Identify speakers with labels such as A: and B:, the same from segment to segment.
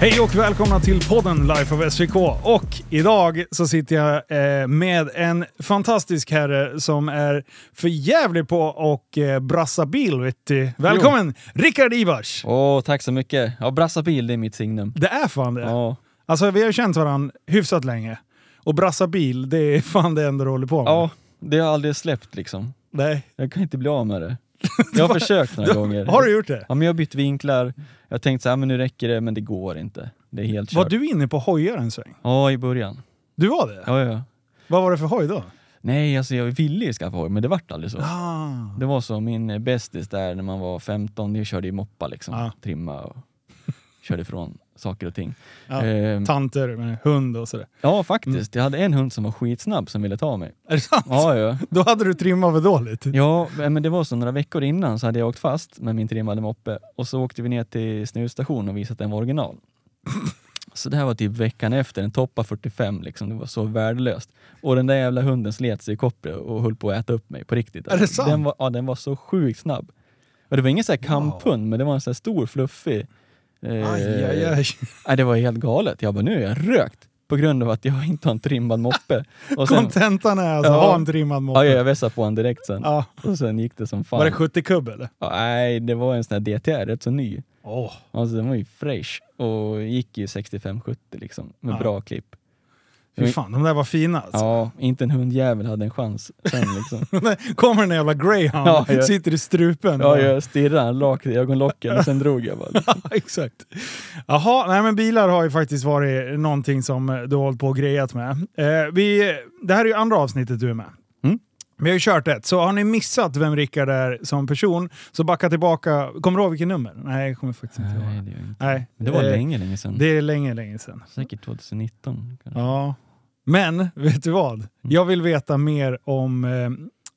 A: Hej och välkomna till podden Life of SVK. Och idag så sitter jag eh, med en fantastisk herre som är för jävlig på och eh, brassa bil. Vet du. Välkommen Rickard Ivars!
B: Åh, tack så mycket. Ja, brassa bil, det är mitt signum.
A: Det är fan det.
B: Ja,
A: Alltså vi har ju känt varandra hyfsat länge. Och brassa bil, det är fan det enda du håller på med.
B: ja det har jag aldrig släppt liksom.
A: Nej.
B: Jag kan inte bli av med det. Jag har försökt några gånger.
A: Har du gjort det?
B: Ja, men jag har bytt vinklar. Jag tänkte så här, men nu räcker det, men det går inte. Det är helt
A: Var
B: kört.
A: du inne på hojar en sväng?
B: Ja, i början.
A: Du var det?
B: Ja, ja.
A: Vad var det för hoj då?
B: Nej, alltså jag ville ju skaffa hoj, men det vart aldrig så. Det var så, min eh, bästis där när man var 15, jag körde i moppa liksom.
A: Ja.
B: Trimma och körde ifrån saker och ting.
A: Ja. Mm.
B: Ehm,
A: Tanter med hund och sådär.
B: ja, faktiskt. Jag hade en hund som var skitsnabb som ville ta mig.
A: Är det sant?
B: Ja, ja.
A: Då hade du trimmat för dåligt.
B: Ja, eh, men det var så några veckor innan så hade jag åkt fast med min trimmade moppe och så åkte vi ner till snusstationen och visade att den var original. Så det här var typ veckan efter, den toppade 45 liksom, det var så värdelöst. Och den där jävla hunden slet sig i kopplet och höll på att äta upp mig på riktigt.
A: Är det sant?
B: Den var, ja, den var så sjukt snabb. Och det var ingen sån här kamphund, men det var en sån här stor fluffig. Eh,
A: Aj, aj, aj.
B: Nej, det var helt galet. Jag bara, nu är jag rökt på grund av att jag inte har en trimmad moppe. Och sen,
A: Kontentan är alltså,
B: Ja.
A: ha en trimmad moppe.
B: ja, jag vässade på honom direkt sen.
A: Ja.
B: Och sen gick det som fan.
A: Var det 70 kubb eller?
B: Ja, Nej, det var en sån här DTR, rätt så ny.
A: Åh.
B: Alltså den var ju fresh och gick ju 65-70 liksom med
A: Ja.
B: bra klipp.
A: Fy fan, de där var fina alltså.
B: Ja, inte en hundjävel hade en chans sen liksom.
A: Kommer den jävla greyhound,
B: Ja, ja.
A: sitter i strupen.
B: Ja, jag stirrade rakt i ögonlocken och sen drog jag bara. liksom.
A: Exakt. Jaha, nej men bilar har ju faktiskt varit någonting som du har hållit på och grejat med. Eh, vi, det här är ju andra avsnittet du är med.
B: Mm.
A: Vi har ju kört ett, så har ni missat vem Rickard är som person så backa tillbaka. Kommer du ihåg vilket nummer? Nej, jag kommer faktiskt inte
B: Nej,
A: ihåg.
B: det, gör jag inte.
A: Nej,
B: Men det var
A: eh,
B: länge, länge sen.
A: Det är länge, länge sedan.
B: Säkert 2019. kanske.
A: Ja. Men, vet du vad? Jag vill veta mer om eh,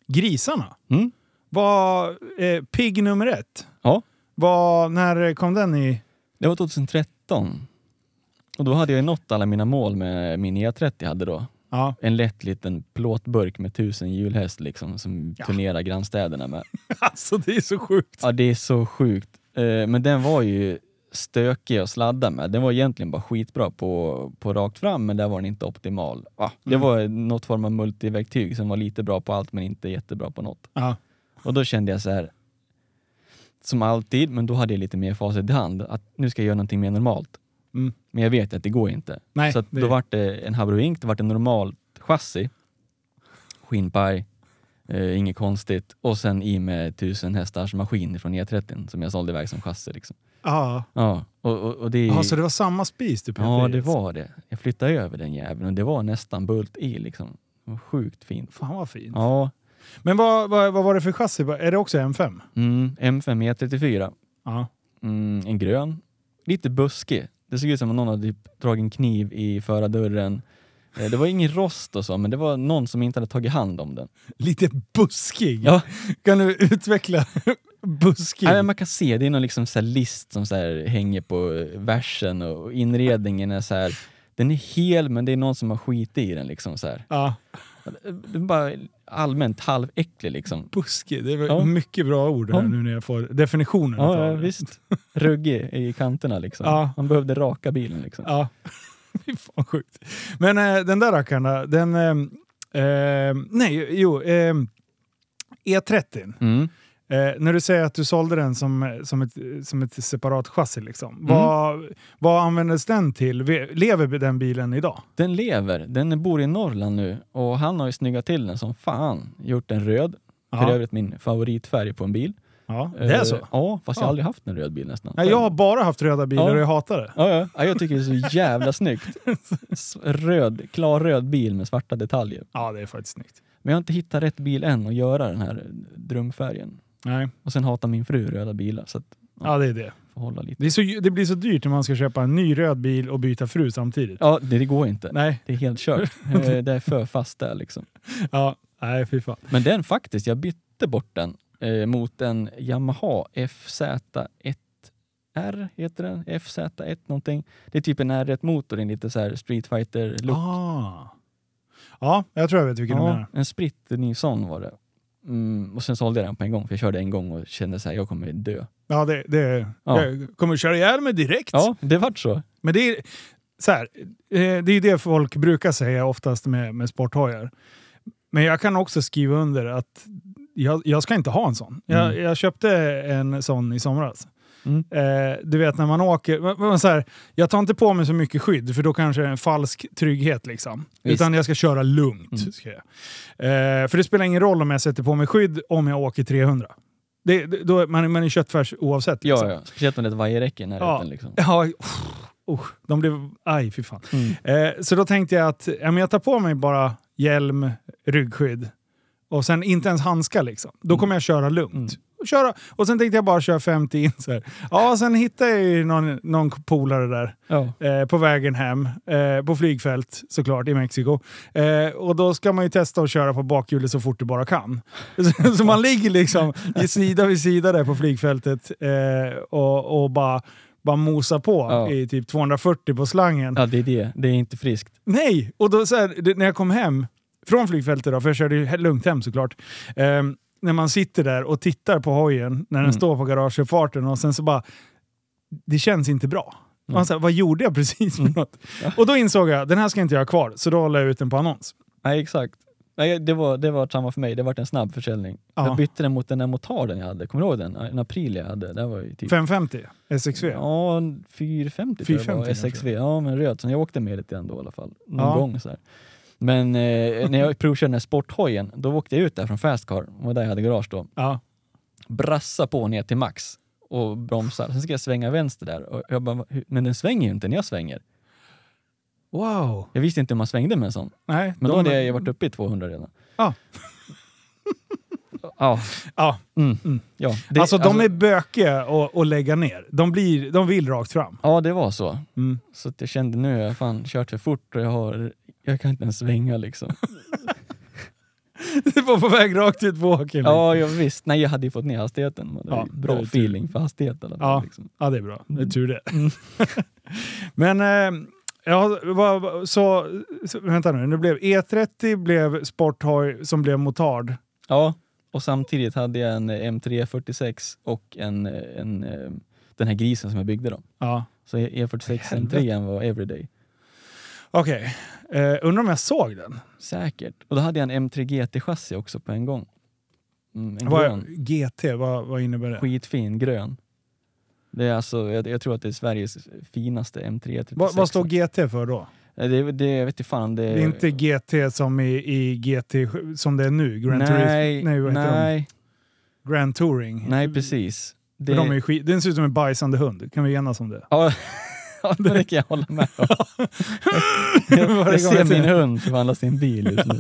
A: grisarna.
B: Mm?
A: Vad, eh, pigg nummer ett.
B: Ja,
A: Vad, när kom den i?
B: det var 2013. Och då hade jag ju nått alla mina mål med min E30 jag hade då.
A: Ja.
B: En lätt liten plåtburk med tusen hjulhäst liksom som
A: Ja.
B: turnerar grannstäderna med.
A: Alltså det är så sjukt.
B: Ja, det är så sjukt. Eh, Men den var ju stökig att sladda med. Den var egentligen bara skitbra på, på rakt fram, men där var den inte optimal. Va? Det
A: Mm.
B: var något form av multiverktyg som var lite bra på allt, men inte jättebra på något.
A: Ja.
B: Och då kände jag så här som alltid, men då hade jag lite mer facit i hand, att nu ska jag göra någonting mer normalt.
A: Mm.
B: Men jag vet att det går inte.
A: Nej,
B: så att
A: det-
B: då vart det en Habrovink, det vart en normalt chassi, skinnpaj, eh, inget konstigt, och sen i med 1000 hästars maskin från E30 som jag sålde iväg som chassi. Liksom.
A: Ja.
B: Ja, och, och, och det...
A: Ja, så det var samma spis du
B: ja, det var det. Jag flyttade över den jäveln och det var nästan bult i liksom. Det var sjukt fint.
A: Fan vad fint.
B: Ja,
A: Men vad, vad, vad var det för chassi? Är det också M5?
B: mm, M5 E34.
A: Ja.
B: Mm, en grön. Lite buskig. Det såg ut som att någon hade typ dragit en kniv i förardörren. Eh, Det var ingen rost och så, men det var någon som inte hade tagit hand om den.
A: Lite buskig.
B: Ja.
A: Kan du utveckla buskig?
B: Nej, men man kan se, det är någon liksom så här list som så här hänger på eh, versen och inredningen är så här. Den är hel, men det är någon som har skitit i den. Liksom, så här.
A: Ja,
B: Den är bara allmänt halväcklig liksom.
A: buskig. Det är
B: Ja.
A: mycket bra ord här
B: Ja.
A: nu när jag får definitionen. av
B: Ja, ja
A: det.
B: visst. Ruggig i kanterna liksom.
A: Ja.
B: Man behövde raka bilen liksom.
A: Ja, fy fan sjukt. Men eh, den där rackaren då, den... Eh, eh, nej, jo. Eh, E30.
B: Mm.
A: Eh, när du säger att du sålde den som, som, ett, som ett separat chassi, liksom.
B: Mm.
A: vad, vad användes den till? Vi- Lever den bilen idag?
B: Den lever. Den bor i Norrland nu och han har ju snyggat till den som fan. Gjort den röd. För övrigt min favoritfärg på en bil.
A: ja det är
B: Eh,
A: så.
B: Ja, fast jag
A: Ja.
B: har aldrig haft en röd bil nästan.
A: Nej, jag har bara haft röda bilar
B: Ja.
A: och jag hatar det.
B: Ja, ja. ja, jag tycker det är så jävla snyggt. S- Röd, klar röd bil med svarta detaljer.
A: Ja, det är faktiskt snyggt.
B: Men jag har inte hittat rätt bil än att göra den här drömfärgen.
A: Nej,
B: Och sen hatar min fru röda bilar så att
A: ja det är det.
B: får hålla lite.
A: Det, är så, det blir så dyrt när man ska köpa en ny röd bil och byta fru samtidigt.
B: Ja, det, det går inte.
A: Nej,
B: Det är helt kört. Eh, det är för fast där liksom.
A: ja, nej fy fan.
B: Men den faktiskt, jag bytte bort den eh, mot en Yamaha FZ1R, heter den? FZ1 någonting. Det är typ en R1-motor, en lite så här Street fighter look
A: Ah. Ja, jag tror jag vet vilken du menar.
B: en spritt ny sån var det. Mm, och sen sålde jag den på en gång, för jag körde en gång och kände så här, jag kommer dö.
A: Ja, det, det,
B: Ja.
A: Jag kommer köra ihjäl mig direkt.
B: Ja, det vart så.
A: Men det är så här, eh, det är ju det folk brukar säga oftast med, med sporthojar. Men jag kan också skriva under att jag, jag ska inte ha en sån. Jag, jag köpte en sån i somras.
B: Mm.
A: Eh, du vet när man åker, men- men så här, jag tar inte på mig så mycket skydd för då kanske det är en falsk trygghet. Liksom.
B: Visst.
A: Utan jag ska köra lugnt.
B: Mm.
A: Ska jag. Eh, för det spelar ingen roll om jag sätter på mig skydd om jag åker 300. Det, det- då, är man, man är köttfärs oavsett. liksom.
B: Ja, ja. Speciellt om det är ett vajerräcke i närheten.
A: Ja.
B: Liksom.
A: Ja, usch, usch, de blev... Aj, fy fan.
B: Mm.
A: Eh, så då tänkte jag att ja, men jag tar på mig bara hjälm, ryggskydd och sen inte ens handskar. Liksom. Då kommer jag köra lugnt.
B: Mm.
A: Köra, och sen tänkte jag bara köra 50 in. Så här. Ja, sen hittade jag ju någon, någon polare där
B: Ja.
A: eh, på vägen hem, eh, på flygfält såklart i Mexiko. Eh, och då ska man ju testa att köra på bakhjulet så fort du bara kan. Så, så man ligger liksom i sida vid sida där på flygfältet eh, och, och bara, bara mosar på
B: Ja.
A: i typ 240 på slangen.
B: ja, det är det. Det är inte friskt.
A: Nej! Och då så här, det, när jag kom hem från flygfältet, då, för jag körde ju he- lugnt hem såklart, ehm, när man sitter där och tittar på hojen när den
B: Mm.
A: står på garageuppfarten och sen så bara, det känns inte bra.
B: Nej.
A: Man så här, vad gjorde jag precis för något?
B: Mm. Ja.
A: Och då insåg jag, den här ska jag inte jag ha kvar, så då la jag ut den på annons.
B: Nej, exakt. Nej, det var, det var samma för mig. Det var en snabb försäljning.
A: Ja.
B: Jag bytte den mot den där motarden jag hade. Kommer du ihåg den? En april jag hade. Det var ju typ...
A: 550 SXV.
B: Ja, en 450 tror jag
A: 450
B: var.
A: kanske.
B: SXV. Ja, men röd. Så jag åkte med lite ändå i alla fall. Någon
A: Ja.
B: gång så här. Men eh, när jag provkörde den här sporthojen, då åkte jag ut där från Fastcar, det var där jag hade garage då.
A: Ja.
B: Brassa på ner till max och bromsar. Sen ska jag svänga vänster där. Och jag bara, "Hur- men den svänger ju inte när jag svänger.
A: Wow!
B: Jag visste inte hur man svängde med en sån.
A: Nej,
B: Men då
A: de-
B: hade jag ju varit uppe i 200 redan.
A: Ja.
B: ja.
A: ja.
B: Mm. ja. Det-
A: alltså, de är bökiga att, att lägga ner. De, blir, de vill rakt fram.
B: Ja, det var så.
A: Mm.
B: Så att jag kände nu har jag fan kört för fort och jag, har, jag kan inte ens svänga liksom.
A: Det var på väg rakt ut på åkern.
B: ja, jag visst. Nej, jag hade ju fått ner hastigheten. Men det
A: Ja,
B: var ju bra
A: det är tur.
B: feeling för hastigheten.
A: Ja.
B: Ja. Liksom.
A: Ja, det är bra. Det är tur det.
B: Mm.
A: Men, eh, ja, vad- vad- så, så, vänta nu. Nu blev E30 blev sporthoj som blev motard.
B: ja, och samtidigt hade jag en eh, M346 och en, eh, en, eh, den här grisen som jag byggde då.
A: Ja.
B: Så E- E46 M3 var everyday.
A: Okej. Eh, undrar om jag såg den?
B: Säkert. Och då hade jag en M3 GT-chassi också på en gång. Mm, en
A: Vad,
B: grön.
A: GT, vad, vad innebär det?
B: Skitfin grön. Det är alltså, jag, jag tror att det är Sveriges finaste M336.
A: Vad, vad står GT för då?
B: Eh, Det, det, jag vet inte fan. Det,
A: Det är inte GT som i, i GT som det är nu? Grand
B: nej,
A: Turism? Nej, vad heter
B: nej,
A: de? Grand Touring?
B: nej, precis. Det,
A: För de är ju skit, den ser ut som en bajsande hund. Kan vi enas om det?
B: ja, ja, det kan jag hålla med om.
A: Varje
B: jag, jag
A: gång jag
B: ser min
A: ser-
B: hund förvandla sin bil just nu.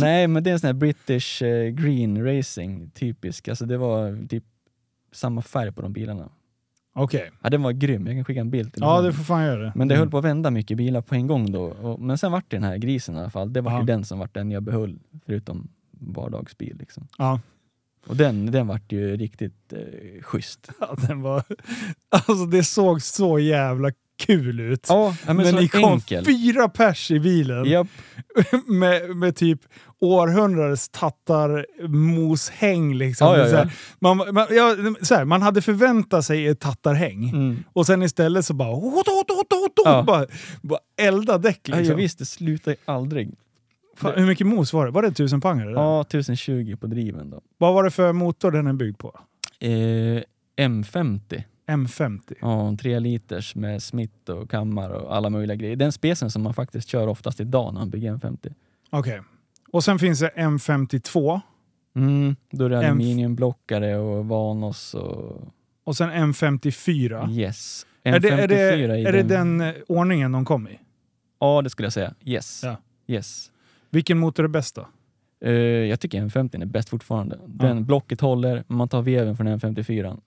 B: nej, men det är en sån här British eh, Green Racing, typisk. Alltså det var typ samma färg på de bilarna.
A: Okej.
B: Ja, den var grym. Jag kan skicka en bild till
A: Ja,
B: dig.
A: du får fan göra det.
B: Mm.
A: Mm.
B: Men det höll på att vända mycket bilar på en gång då. Och, men sen vart det den här grisen i alla fall. Det var
A: Ja.
B: ju den som vart den jag behöll, förutom vardagsbil. Liksom.
A: Ja.
B: Och den, den vart ju riktigt eh, schysst.
A: Ja, den var... Alltså det såg så jävla kul ut.
B: Ja, men,
A: men
B: så
A: ni kom
B: enkel.
A: fyra pers i bilen
B: Japp,
A: med, med typ århundradets tattarmoshäng. Liksom.
B: Ja, ja,
A: Det är så här,
B: ja.
A: Man, man, ja, så här, man hade förväntat sig ett tattarhäng.
B: Mm.
A: Och sen istället så bara... Hot, hot, hot, hot,
B: Ja.
A: bara, bara elda däck
B: Ja,
A: liksom.
B: jag visste, det slutar ju aldrig.
A: Fan, hur mycket mos var det? Var det tusen pangare? Ja.
B: Ja, 1020 på driven då.
A: Vad var det för motor den är byggd på?
B: Eh, M50,
A: M50.
B: ja, en 3 liters med smitt och kammar och alla möjliga grejer. Den specen som man faktiskt kör oftast idag när man bygger M50.
A: Okej. Och sen finns det M52
B: Mm, då är det
A: M-
B: aluminiumblockare och Vanos och
A: och sen M54.
B: Yes.
A: Är det, är, det,
B: i
A: är det den eh, ordningen de kom i?
B: Ja, det skulle jag säga. Yes.
A: Ja.
B: yes.
A: Vilken motor är bäst då?
B: Eh, jag tycker M50 är bäst fortfarande. Den blocket håller, man tar veven från M54.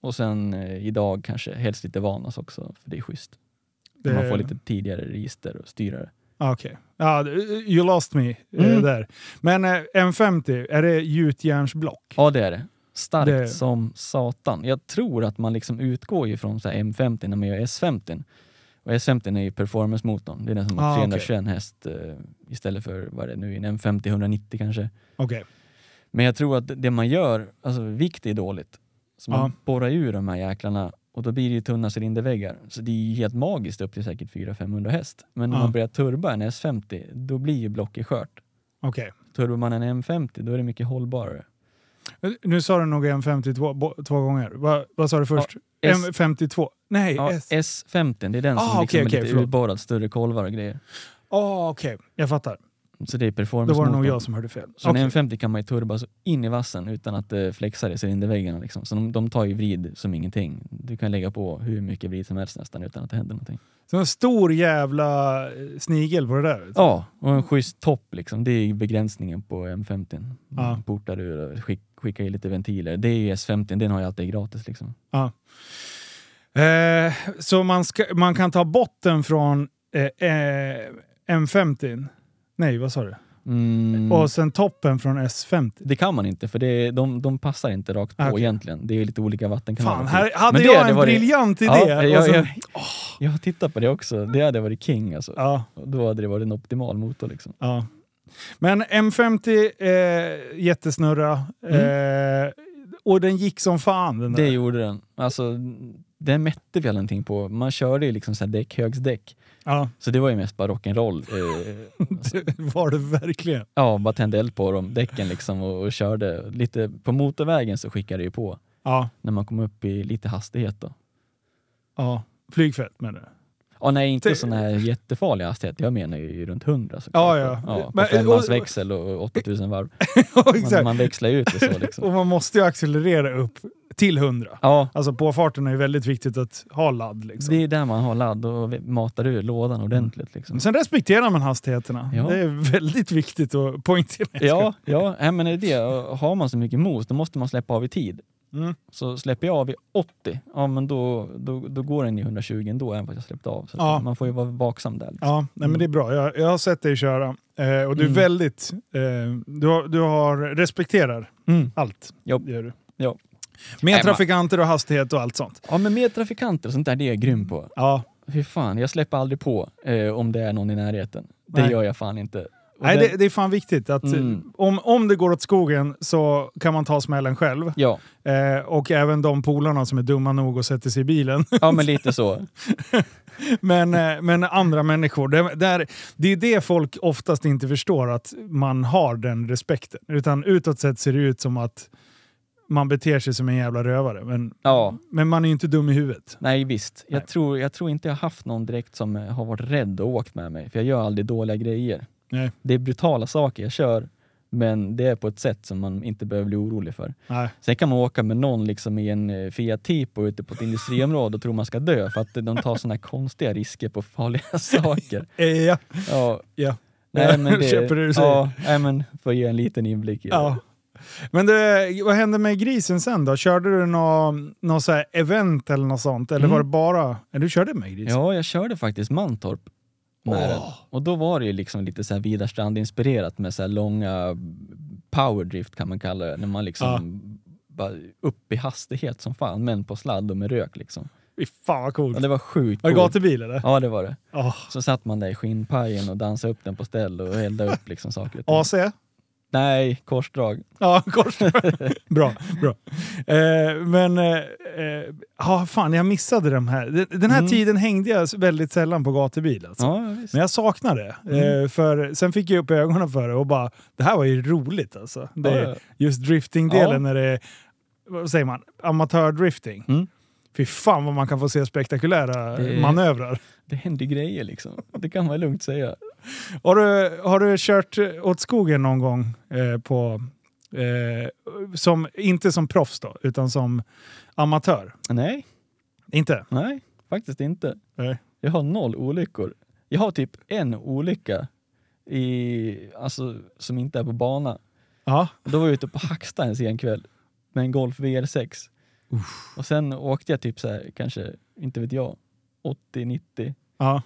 B: Och sen eh, idag kanske helst lite Vanas också, för det är schysst.
A: Det-
B: Man får lite tidigare register och styrare.
A: Ah, Okej. Ja, d- you lost me eh,
B: Mm.
A: där. Men eh, M50, är det gjutjärnsblock?
B: Ja, det är det. Starkt
A: Det-
B: som satan. Jag tror att man liksom utgår ju från så här M50 när man gör S50. Och S50 är ju performance-motorn. Det är den som har
A: Ah, okej.
B: 321 häst eh, istället för vad är det nu är, en M50 190 kanske.
A: Okej.
B: Men jag tror att det man gör, alltså vikt är dåligt. Så man
A: Ja.
B: borrar ur de här jäklarna Och då blir det ju tunna cylinderväggar. Så det är ju helt magiskt upp till säkert 400-500 häst. Men när
A: Ja.
B: man börjar turba en S50, då blir ju blocket skört.
A: Okej.
B: Turbar man en M50, då är det mycket hållbarare.
A: Nu sa du nog M50 två, bo- två gånger. Vad, vad sa du först?
B: S-
A: M52? Nej,
B: Ja,
A: S.
B: S50, det är den som
A: Ah,
B: liksom
A: okej, okej,
B: är lite
A: förlåt.
B: urborrad, större kolvar och grejer.
A: Ah, Okej, jag fattar.
B: Så det är
A: Då
B: performance
A: var det nog jag som hörde fel.
B: Så
A: Okej.
B: en M50 kan man ju turba så in i vassen utan att eh, det flexar i cylinderväggarna. Liksom. Så de, de tar ju vrid som ingenting. Du kan lägga på hur mycket vrid som helst nästan utan att det händer någonting.
A: Så en stor jävla eh, snigel på det där.
B: Ja, och en schysst topp liksom. Det är ju begränsningen på M50.
A: Ja.
B: Portar ur och skick, skickar i lite ventiler. Det är ju S50, den har ju alltid gratis liksom.
A: Ja. Eh, så man, ska, man kan ta botten från eh, eh, M50? Nej, vad sa du?
B: Mm.
A: Och sen toppen från S50?
B: Det kan man inte för det, de, de passar inte rakt på
A: Ah, okej.
B: egentligen. Det är ju lite olika vattenkanaler.
A: Fan, här hade
B: Men det
A: jag
B: hade
A: en
B: varit-
A: briljant idé!
B: Ja, jag,
A: och sen,
B: jag, jag har tittat på det också. Det hade varit king alltså.
A: ja,
B: Då hade det varit en optimal motor liksom.
A: ja. Men M50, eh, jättesnurra. Eh, och den gick som fan den där.
B: Mm. Det gjorde den. Alltså, det mätte vi någonting på. Man körde ju liksom så här däck, högsdäck.
A: ja,
B: Så det var ju mest bara rock'n'roll. Eh,
A: det var det verkligen.
B: ja, bara tände eld på dem, däcken liksom och, och körde. Lite på motorvägen så skickade det ju på.
A: Ja,
B: När man kom upp i lite hastighet då.
A: ja. Flygfält menar du?
B: Ja, nej, inte
A: Det-
B: sån här jättefarlig hastighet. Jag menar ju runt 100 såklart.
A: Ja, ja.
B: ja på
A: Men-
B: femmans
A: och-
B: växel och 8000 varv.
A: Ja,
B: Man,
A: exakt.
B: man växlar ju ut det så liksom.
A: Och man måste ju accelerera upp till 100.
B: Ja,
A: Alltså påfarten är ju väldigt viktigt att ha ladd. Liksom.
B: det är där man har ladd och matar ur lådan ordentligt liksom.
A: Men Sen respekterar man hastigheterna.
B: Ja.
A: Det är väldigt viktigt att poängtera.
B: Ja, ja nej, men det är det. Och Har man så mycket mos, då måste man släppa av i tid.
A: Mm.
B: Så släpper jag av i 80, ja men då, då, då går den i 120 ändå, även fast jag släppte av. Så att
A: Ja.
B: man får ju vara vaksam där. Liksom.
A: Ja, nej, men det är bra. Jag, jag har sett dig köra eh, och du är
B: Mm.
A: väldigt... Eh, du, har, du har respekterar
B: Mm.
A: allt.
B: Ja.
A: Gör du.
B: Ja.
A: Med
B: Nej,
A: trafikanter och hastighet och allt sånt.
B: ja, men mer trafikanter och sånt där, det är jag grym på.
A: Ja.
B: Hur fan, jag släpper aldrig på eh, om det är någon i närheten. Det
A: Nej.
B: gör jag fan inte. Och
A: Nej,
B: den-
A: det, typ. det är fan viktigt att
B: Mm.
A: om, om det går åt skogen så kan man ta smällen själv.
B: Ja,
A: Eh, och även de polarna som är dumma nog och sätter sig i bilen.
B: ja, men lite så.
A: Men, eh, men andra människor, det, där, det är det folk oftast inte förstår, att man har den respekten. Utan utåt sett ser det ut som att man beter sig som en jävla rövare. Men,
B: Ja,
A: men man är ju inte dum i huvudet.
B: nej visst. Jag,
A: Nej.
B: Tror, jag tror inte jag haft någon direkt som eh, har varit rädd och åkt med mig, för jag gör aldrig dåliga grejer.
A: Nej.
B: Det är brutala saker jag kör, men det är på ett sätt som man inte behöver bli orolig för.
A: Nej.
B: Sen kan man åka med någon liksom i en eh, Fiat Tipo ute på ett industriområde och tro man ska dö för att de tar såna här konstiga risker på farliga saker.
A: Eh, ja.
B: Ja.
A: Ja.
B: Nej, men det,
A: Köper du det du säger.
B: Ja, nej, men för att ge en liten inblick i det.
A: Ja. Men det, vad hände med grisen sen då? Körde du något nå så här event eller något sånt? Eller
B: Mm.
A: var det bara... Nej, du körde med grisen?
B: Ja, jag körde faktiskt Mantorp. med den.
A: Åh.
B: Och då var det ju liksom lite så här Vidarstrand-inspirerat med så här långa powerdrift kan man kalla det. När man liksom bara upp i hastighet som fan, men på sladd och med rök liksom.
A: Fy fan vad coolt.
B: Ja, det var sjukt
A: Var det
B: coolt.
A: gatubil eller?
B: Ja, det var det.
A: Ja.
B: Så satt man där i skinnpajen och dansade upp den på ställ och eldade upp liksom saker. och ting.
A: AC?
B: Nej, korsdrag.
A: Ja, kors. bra, bra. Eh, men, eh, eh, ja fan jag missade de här. Den- Den här
B: Mm.
A: tiden hängde jag väldigt sällan på gatubil. Alltså.
B: Ja, Mm. visst.
A: Men jag saknar det. Eh, för sen fick jag upp ögonen för det och bara, det här var ju roligt alltså. Det,
B: Ja, ja.
A: Just driftingdelen
B: Ja.
A: när det är, vad säger man, amatördrifting.
B: Mm.
A: Fy fan vad man kan få se spektakulära
B: Det-
A: manövrar.
B: Det hände grejer liksom. Det kan man lugnt säga.
A: Har du, har du kört eh, åt skogen någon gång eh, på... Eh, som, inte som proffs då, utan som amatör?
B: Nej,
A: Inte?
B: nej, faktiskt inte.
A: Nej.
B: Jag har noll olyckor. Jag har typ en olycka i, alltså, som inte är på bana.
A: Ja.
B: Då var jag ute på Hacksta en sen kväll med en Golf VR6. Och sen åkte jag typ så här, kanske, inte vet jag, 80-90.
A: ja.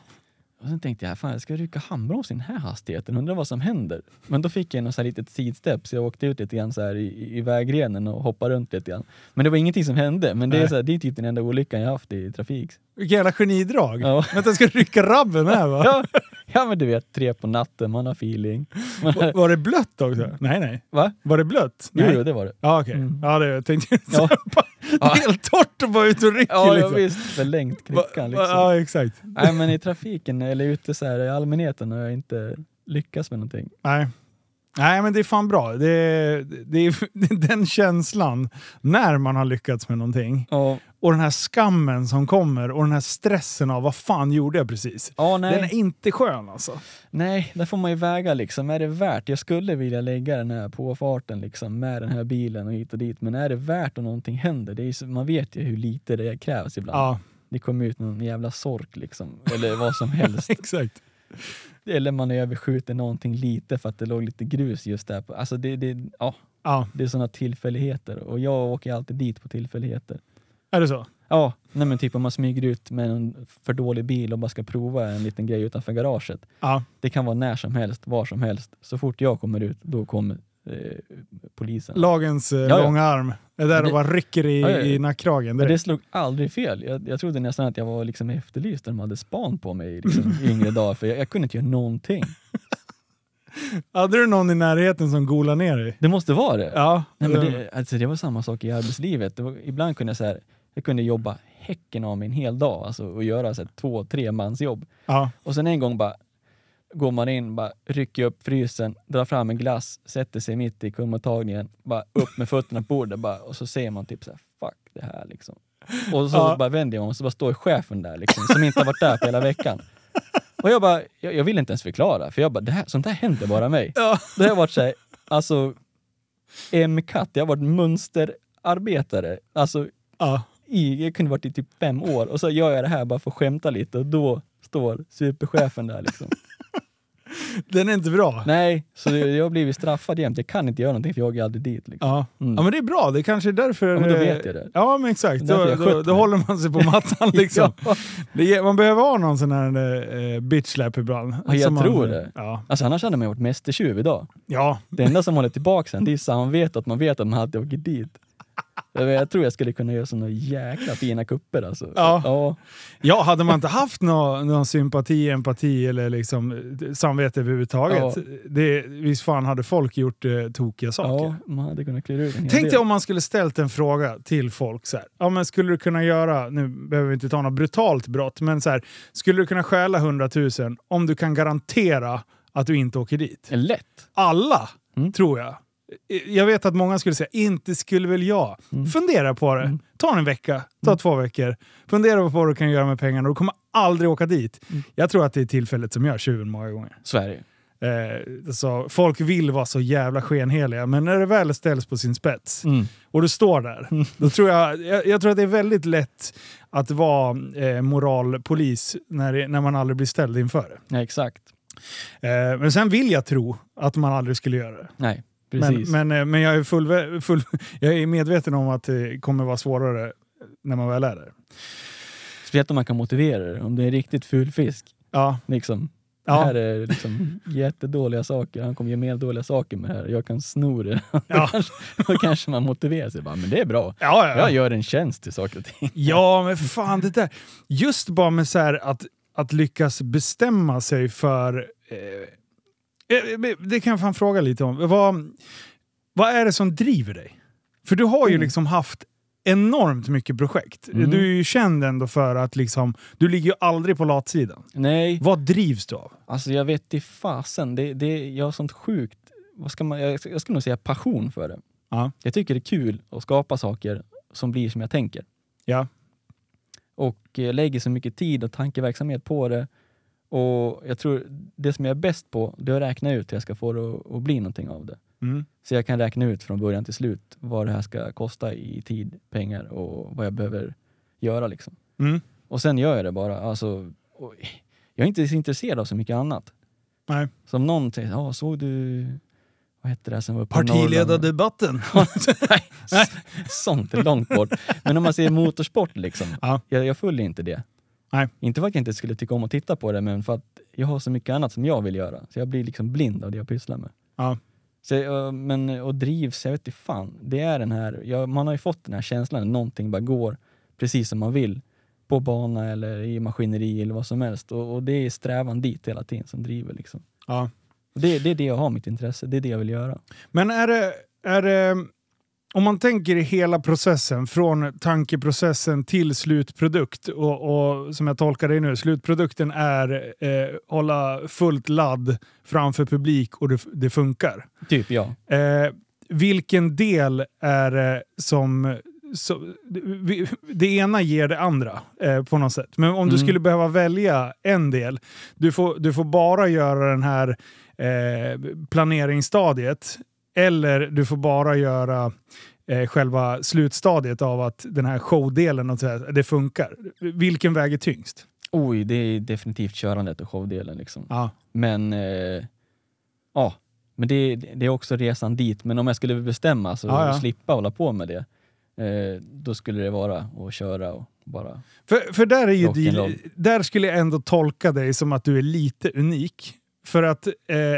B: Och sen tänkte jag, fan jag ska rycka handbroms i den här hastigheten, undrar vad som händer. Men då fick jag något så här litet sidstep så jag åkte ut lite grann så här i, i vägrenen och hoppade runt lite grann. Men det var ingenting som hände, men det är,
A: Nej.
B: så här, det är typ den enda olyckan jag haft i trafik.
A: Vilket jävla genidrag.
B: Ja.
A: Men att jag ska rycka rabben här va?
B: Ja, ja men du vet, tre på natten, man har feeling. Man,
A: Va- Var det blött också? Nej, nej.
B: va?
A: Var det blött?
B: Jo,
A: Nej.
B: jo, det var det.
A: Ja, okej.
B: Mm.
A: Ja, det tänkte jag.
B: Ja.
A: det är helt torrt att vara ute och rycker
B: Ja, ja
A: liksom.
B: visst. Förlängt
A: Va-
B: kryckan
A: va-
B: liksom.
A: Ja, exakt.
B: Nej men i trafiken eller ute så här i allmänheten har jag inte lyckats med någonting.
A: Nej. Nej, men det är fan bra. Det är, det är den känslan när man har lyckats med någonting.
B: Ja,
A: Och den här skammen som kommer och den här stressen av vad fan gjorde jag precis?
B: ja nej.
A: Den är inte skön alltså.
B: Nej, där får man ju väga liksom, är det värt? Jag skulle vilja lägga den här påfarten liksom med den här bilen och hit och dit, men är det värt om någonting händer? Det är ju, så- man vet ju hur lite det krävs ibland.
A: Ja,
B: Det kommer ut någon jävla sork liksom, eller vad som helst.
A: exakt.
B: eller man överskjuter någonting lite för att det låg lite grus just där. på- Alltså det, det, ja,
A: Ja,
B: det är sådana tillfälligheter och jag åker alltid dit på tillfälligheter.
A: är det så?
B: Ja, nej men typ om man smyger ut med en för dålig bil och bara ska prova en liten grej utanför garaget.
A: Ja.
B: Det kan vara när som helst, var som helst. Så fort jag kommer ut, då kommer eh, polisen.
A: Lagens eh,
B: Ja, ja.
A: långa arm är där och
B: Det-
A: bara rycker i,
B: Ja, ja, ja.
A: i nackkragen.
B: Men
A: direkt.
B: det slog aldrig fel. Jag, jag trodde nästan att jag var liksom efterlyst när de hade span på mig liksom, i yngre dagar, för jag, jag kunde inte göra någonting.
A: Hade du någon i närheten som golade ner dig?
B: Det måste vara det.
A: Ja.
B: Nej, men det, alltså, det var samma sak i arbetslivet. Det var, ibland kunde jag, så här, jag kunde jobba häcken av mig en hel dag alltså, och göra så här, två, tre mans jobb.
A: ja.
B: Och sen en gång bara går man in, bara rycker upp frysen, drar fram en glass, sätter sig mitt i kundmottagningen, bara upp med fötterna på bordet bara, och så ser man typ så här, fuck det här liksom. Och så
A: Ja.
B: bara vänder jag mig och så bara står chefen där liksom, som inte har varit där på hela veckan. Och jag bara, jag, jag vill inte ens förklara, för jag bara, det här, sånt här händer bara mig.
A: Ja.
B: Då har jag varit såhär, alltså M-katt, jag har varit mönsterarbetare, alltså
A: ja.
B: i, jag kunde varit i typ fem år och så gör jag det här bara för att skämta lite och då står superchefen där liksom.
A: Den är inte bra.
B: Nej, så det- jag har blivit straffad jämt. Jag kan inte göra någonting för jag åker aldrig dit. Liksom.
A: Ja.
B: Mm.
A: ja, men det är bra. Det kanske är därför...
B: Ja, men då
A: eh,
B: vet jag det.
A: Ja, men exakt.
B: Det är därför
A: Då,
B: jag
A: då,
B: sköter
A: då
B: mig.
A: håller man sig på mattan liksom.
B: Ja.
A: det, ger- man behöver ha någon sån här eh, bitch slap ibland.
B: Ja, jag
A: Som man,
B: tror det.
A: Ja.
B: Alltså annars hade man ju varit mästertjuv idag.
A: ja.
B: Det enda som håller tillbaka sen det är samvetet, att man vet att man alltid åker dit. Jag vet, jag tror jag skulle kunna göra såna jäkla fina kupper alltså.
A: Ja.
B: ja.
A: Ja, hade man inte haft någon, någon sympati, empati eller liksom eh, samvete överhuvudtaget,
B: Ja.
A: det, visst fan hade folk gjort eh, tokiga saker.
B: ja man hade kunnat klura ut en hel
A: Tänk
B: del.
A: dig om man skulle ställt en fråga till folk. Så här. Ja, men skulle du kunna göra, nu behöver vi inte ta något brutalt brott, men så här, skulle du kunna stjäla 100 000 om du kan garantera att du inte åker dit?
B: Lätt!
A: Alla,
B: Mm.
A: tror jag. I- Jag vet att många skulle säga, inte skulle väl jag.
B: Mm.
A: Fundera på det. Ta en vecka, ta två veckor. Fundera på vad du kan göra med pengarna och du kommer aldrig åka dit.
B: Mm.
A: Jag tror att det är tillfället som gör tjuven många gånger.
B: Sverige.
A: Eh, så folk vill vara så jävla skenheliga, men när det väl ställs på sin spets
B: Mm.
A: och du står där, då tror jag, jag, jag tror att det är väldigt lätt att vara eh, moralpolis när, det, när man aldrig blir ställd inför det.
B: Ja, exakt.
A: Eh, men sen vill jag tro att man aldrig skulle göra det.
B: Nej,
A: Men,
B: precis.
A: men, eh, men jag, är full, full, jag är medveten om att det kommer vara svårare när man väl är där.
B: Speciellt om man kan motivera det. Om det är en riktigt ful fisk.
A: Ja,
B: Liksom. Det
A: ja,
B: här är liksom jättedåliga saker. Han kommer göra mer dåliga saker med det här. Jag kan sno det.
A: Ja.
B: Då, kanske, då kanske man motiverar sig. Bara, men det är bra.
A: ja, ja.
B: Jag gör en tjänst till saker och ting.
A: Ja, men fan det där. Just bara med så här att, att lyckas bestämma sig för... Eh, eh, det kan jag fan fråga lite om. Vad, vad är det som driver dig? För du har ju
B: Mm.
A: liksom haft enormt mycket projekt.
B: Mm.
A: Du är ju känd ändå för att liksom, du ligger ju aldrig på latsidan.
B: Nej,
A: Vad drivs du av?
B: alltså jag vet i fasen. Det, det, jag har sånt sjukt, vad ska man, jag, jag skulle nog säga passion för det.
A: Ja.
B: Jag tycker det är kul att skapa saker som blir som jag tänker.
A: Ja.
B: Och eh, lägger så mycket tid och tankeverksamhet på det. Och jag tror det som jag är bäst på, det är att räkna ut hur jag ska få det att, att bli någonting av det.
A: Mm.
B: Så jag kan räkna ut från början till slut vad det här ska kosta i tid, pengar och vad jag behöver göra. Liksom.
A: Mm.
B: Och sen gör jag det bara. Alltså, och jag är inte så intresserad av så mycket annat.
A: Nej.
B: Som någon säger, ja såg du, vad hette det här som var uppe i Norrland?"
A: Partiledardebatten.
B: Nej, s- sånt är långt bort. Men om man ser motorsport liksom,
A: Ja.
B: jag, jag följer inte det.
A: Nej.
B: Inte för att jag inte skulle tycka om att titta på det, men för att jag har så mycket annat som jag vill göra. Så jag blir liksom blind av det jag pysslar med.
A: Ja.
B: Så, jag- eh, men, och drivs, jag vet inte fan. Det är den här, jag, man har ju fått den här känslan, att någonting bara går precis som man vill på bana eller i maskineri eller vad som helst. Och, och det är strävan dit hela tiden som driver. Liksom.
A: Ja.
B: Och det, det är det jag har mitt intresse, det är det jag vill göra.
A: Men är det, är det... Om man tänker i hela processen, från tankeprocessen till slutprodukt och, och som jag tolkar det nu, slutprodukten är eh, hålla fullt ladd framför publik och det, det funkar.
B: Typ ja.
A: Eh, vilken del är det som... Så, vi- det ena ger det andra eh, på något sätt. Men om du
B: Mm.
A: skulle behöva välja en del, du får, du får bara göra den här eh, planeringsstadiet eller du får bara göra eh, själva slutstadiet av att den här showdelen, och så här, det funkar. Vilken väger tyngst?
B: Oj, det är definitivt körandet och showdelen. Liksom.
A: Ja.
B: Men eh, ja, men det, det är också resan dit. Men om jag skulle bestämma så
A: Ja, ja.
B: slippa hålla på med det, eh, då skulle det vara att köra och bara...
A: För, för där, är ju
B: Rock'n'roll.
A: deal, där skulle jag ändå tolka dig som att du är lite unik. För att eh,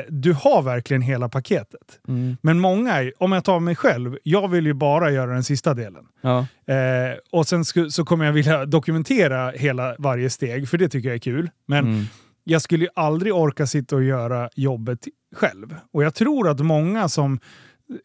A: du har verkligen hela paketet. Men många, är- om jag tar mig själv, jag vill ju bara göra den sista delen.
B: Ja,
A: Eh, och sen sku, så kommer jag vilja dokumentera hela varje steg, för det tycker jag är kul. Men
B: mm.
A: jag skulle ju aldrig orka sitta och göra jobbet själv. Och jag tror att många som,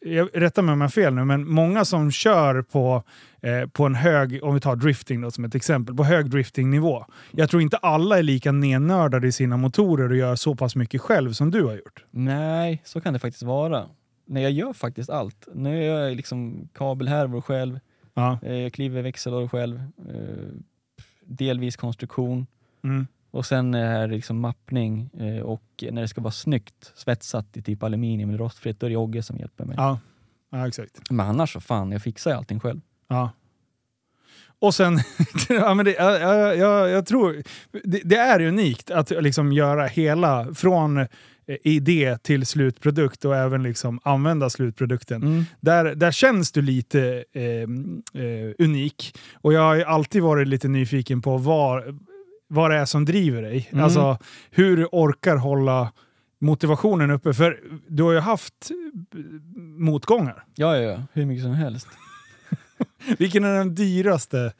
A: jag rätta mig om jag har fel nu, men många som kör på, eh, på en hög, om vi tar drifting då som ett exempel, på hög driftingnivå. Jag tror inte alla är lika nennördade i sina motorer och gör så pass mycket själv som du har gjort.
B: Nej, så kan det faktiskt vara. Nej, jag gör faktiskt allt. Nu gör jag liksom kabelhärvor själv,
A: Ja.
B: eh, jag kliver växellådor själv, eh, delvis konstruktion.
A: Mm.
B: Och sen är det liksom mappning eh, och när det ska vara snyggt svetsat i typ aluminium eller rostfritt, då är det Jogge som hjälper mig.
A: Ja. ja, exakt.
B: Men annars så fan, jag fixar ju allting själv.
A: Ja. Och sen, ja, men det, jag, jag, jag, jag tror, det, det är unikt att liksom göra hela, från eh, idé till slutprodukt och även liksom använda slutprodukten.
B: Mm.
A: Där, där känns du lite eh, eh, unik. Och jag har ju alltid varit lite nyfiken på vad, vad det är som driver dig.
B: Mm.
A: Alltså hur du orkar hålla motivationen uppe. För du har ju haft eh, motgångar.
B: Ja, ja, ja. Hur mycket som helst.
A: Vilken är den dyraste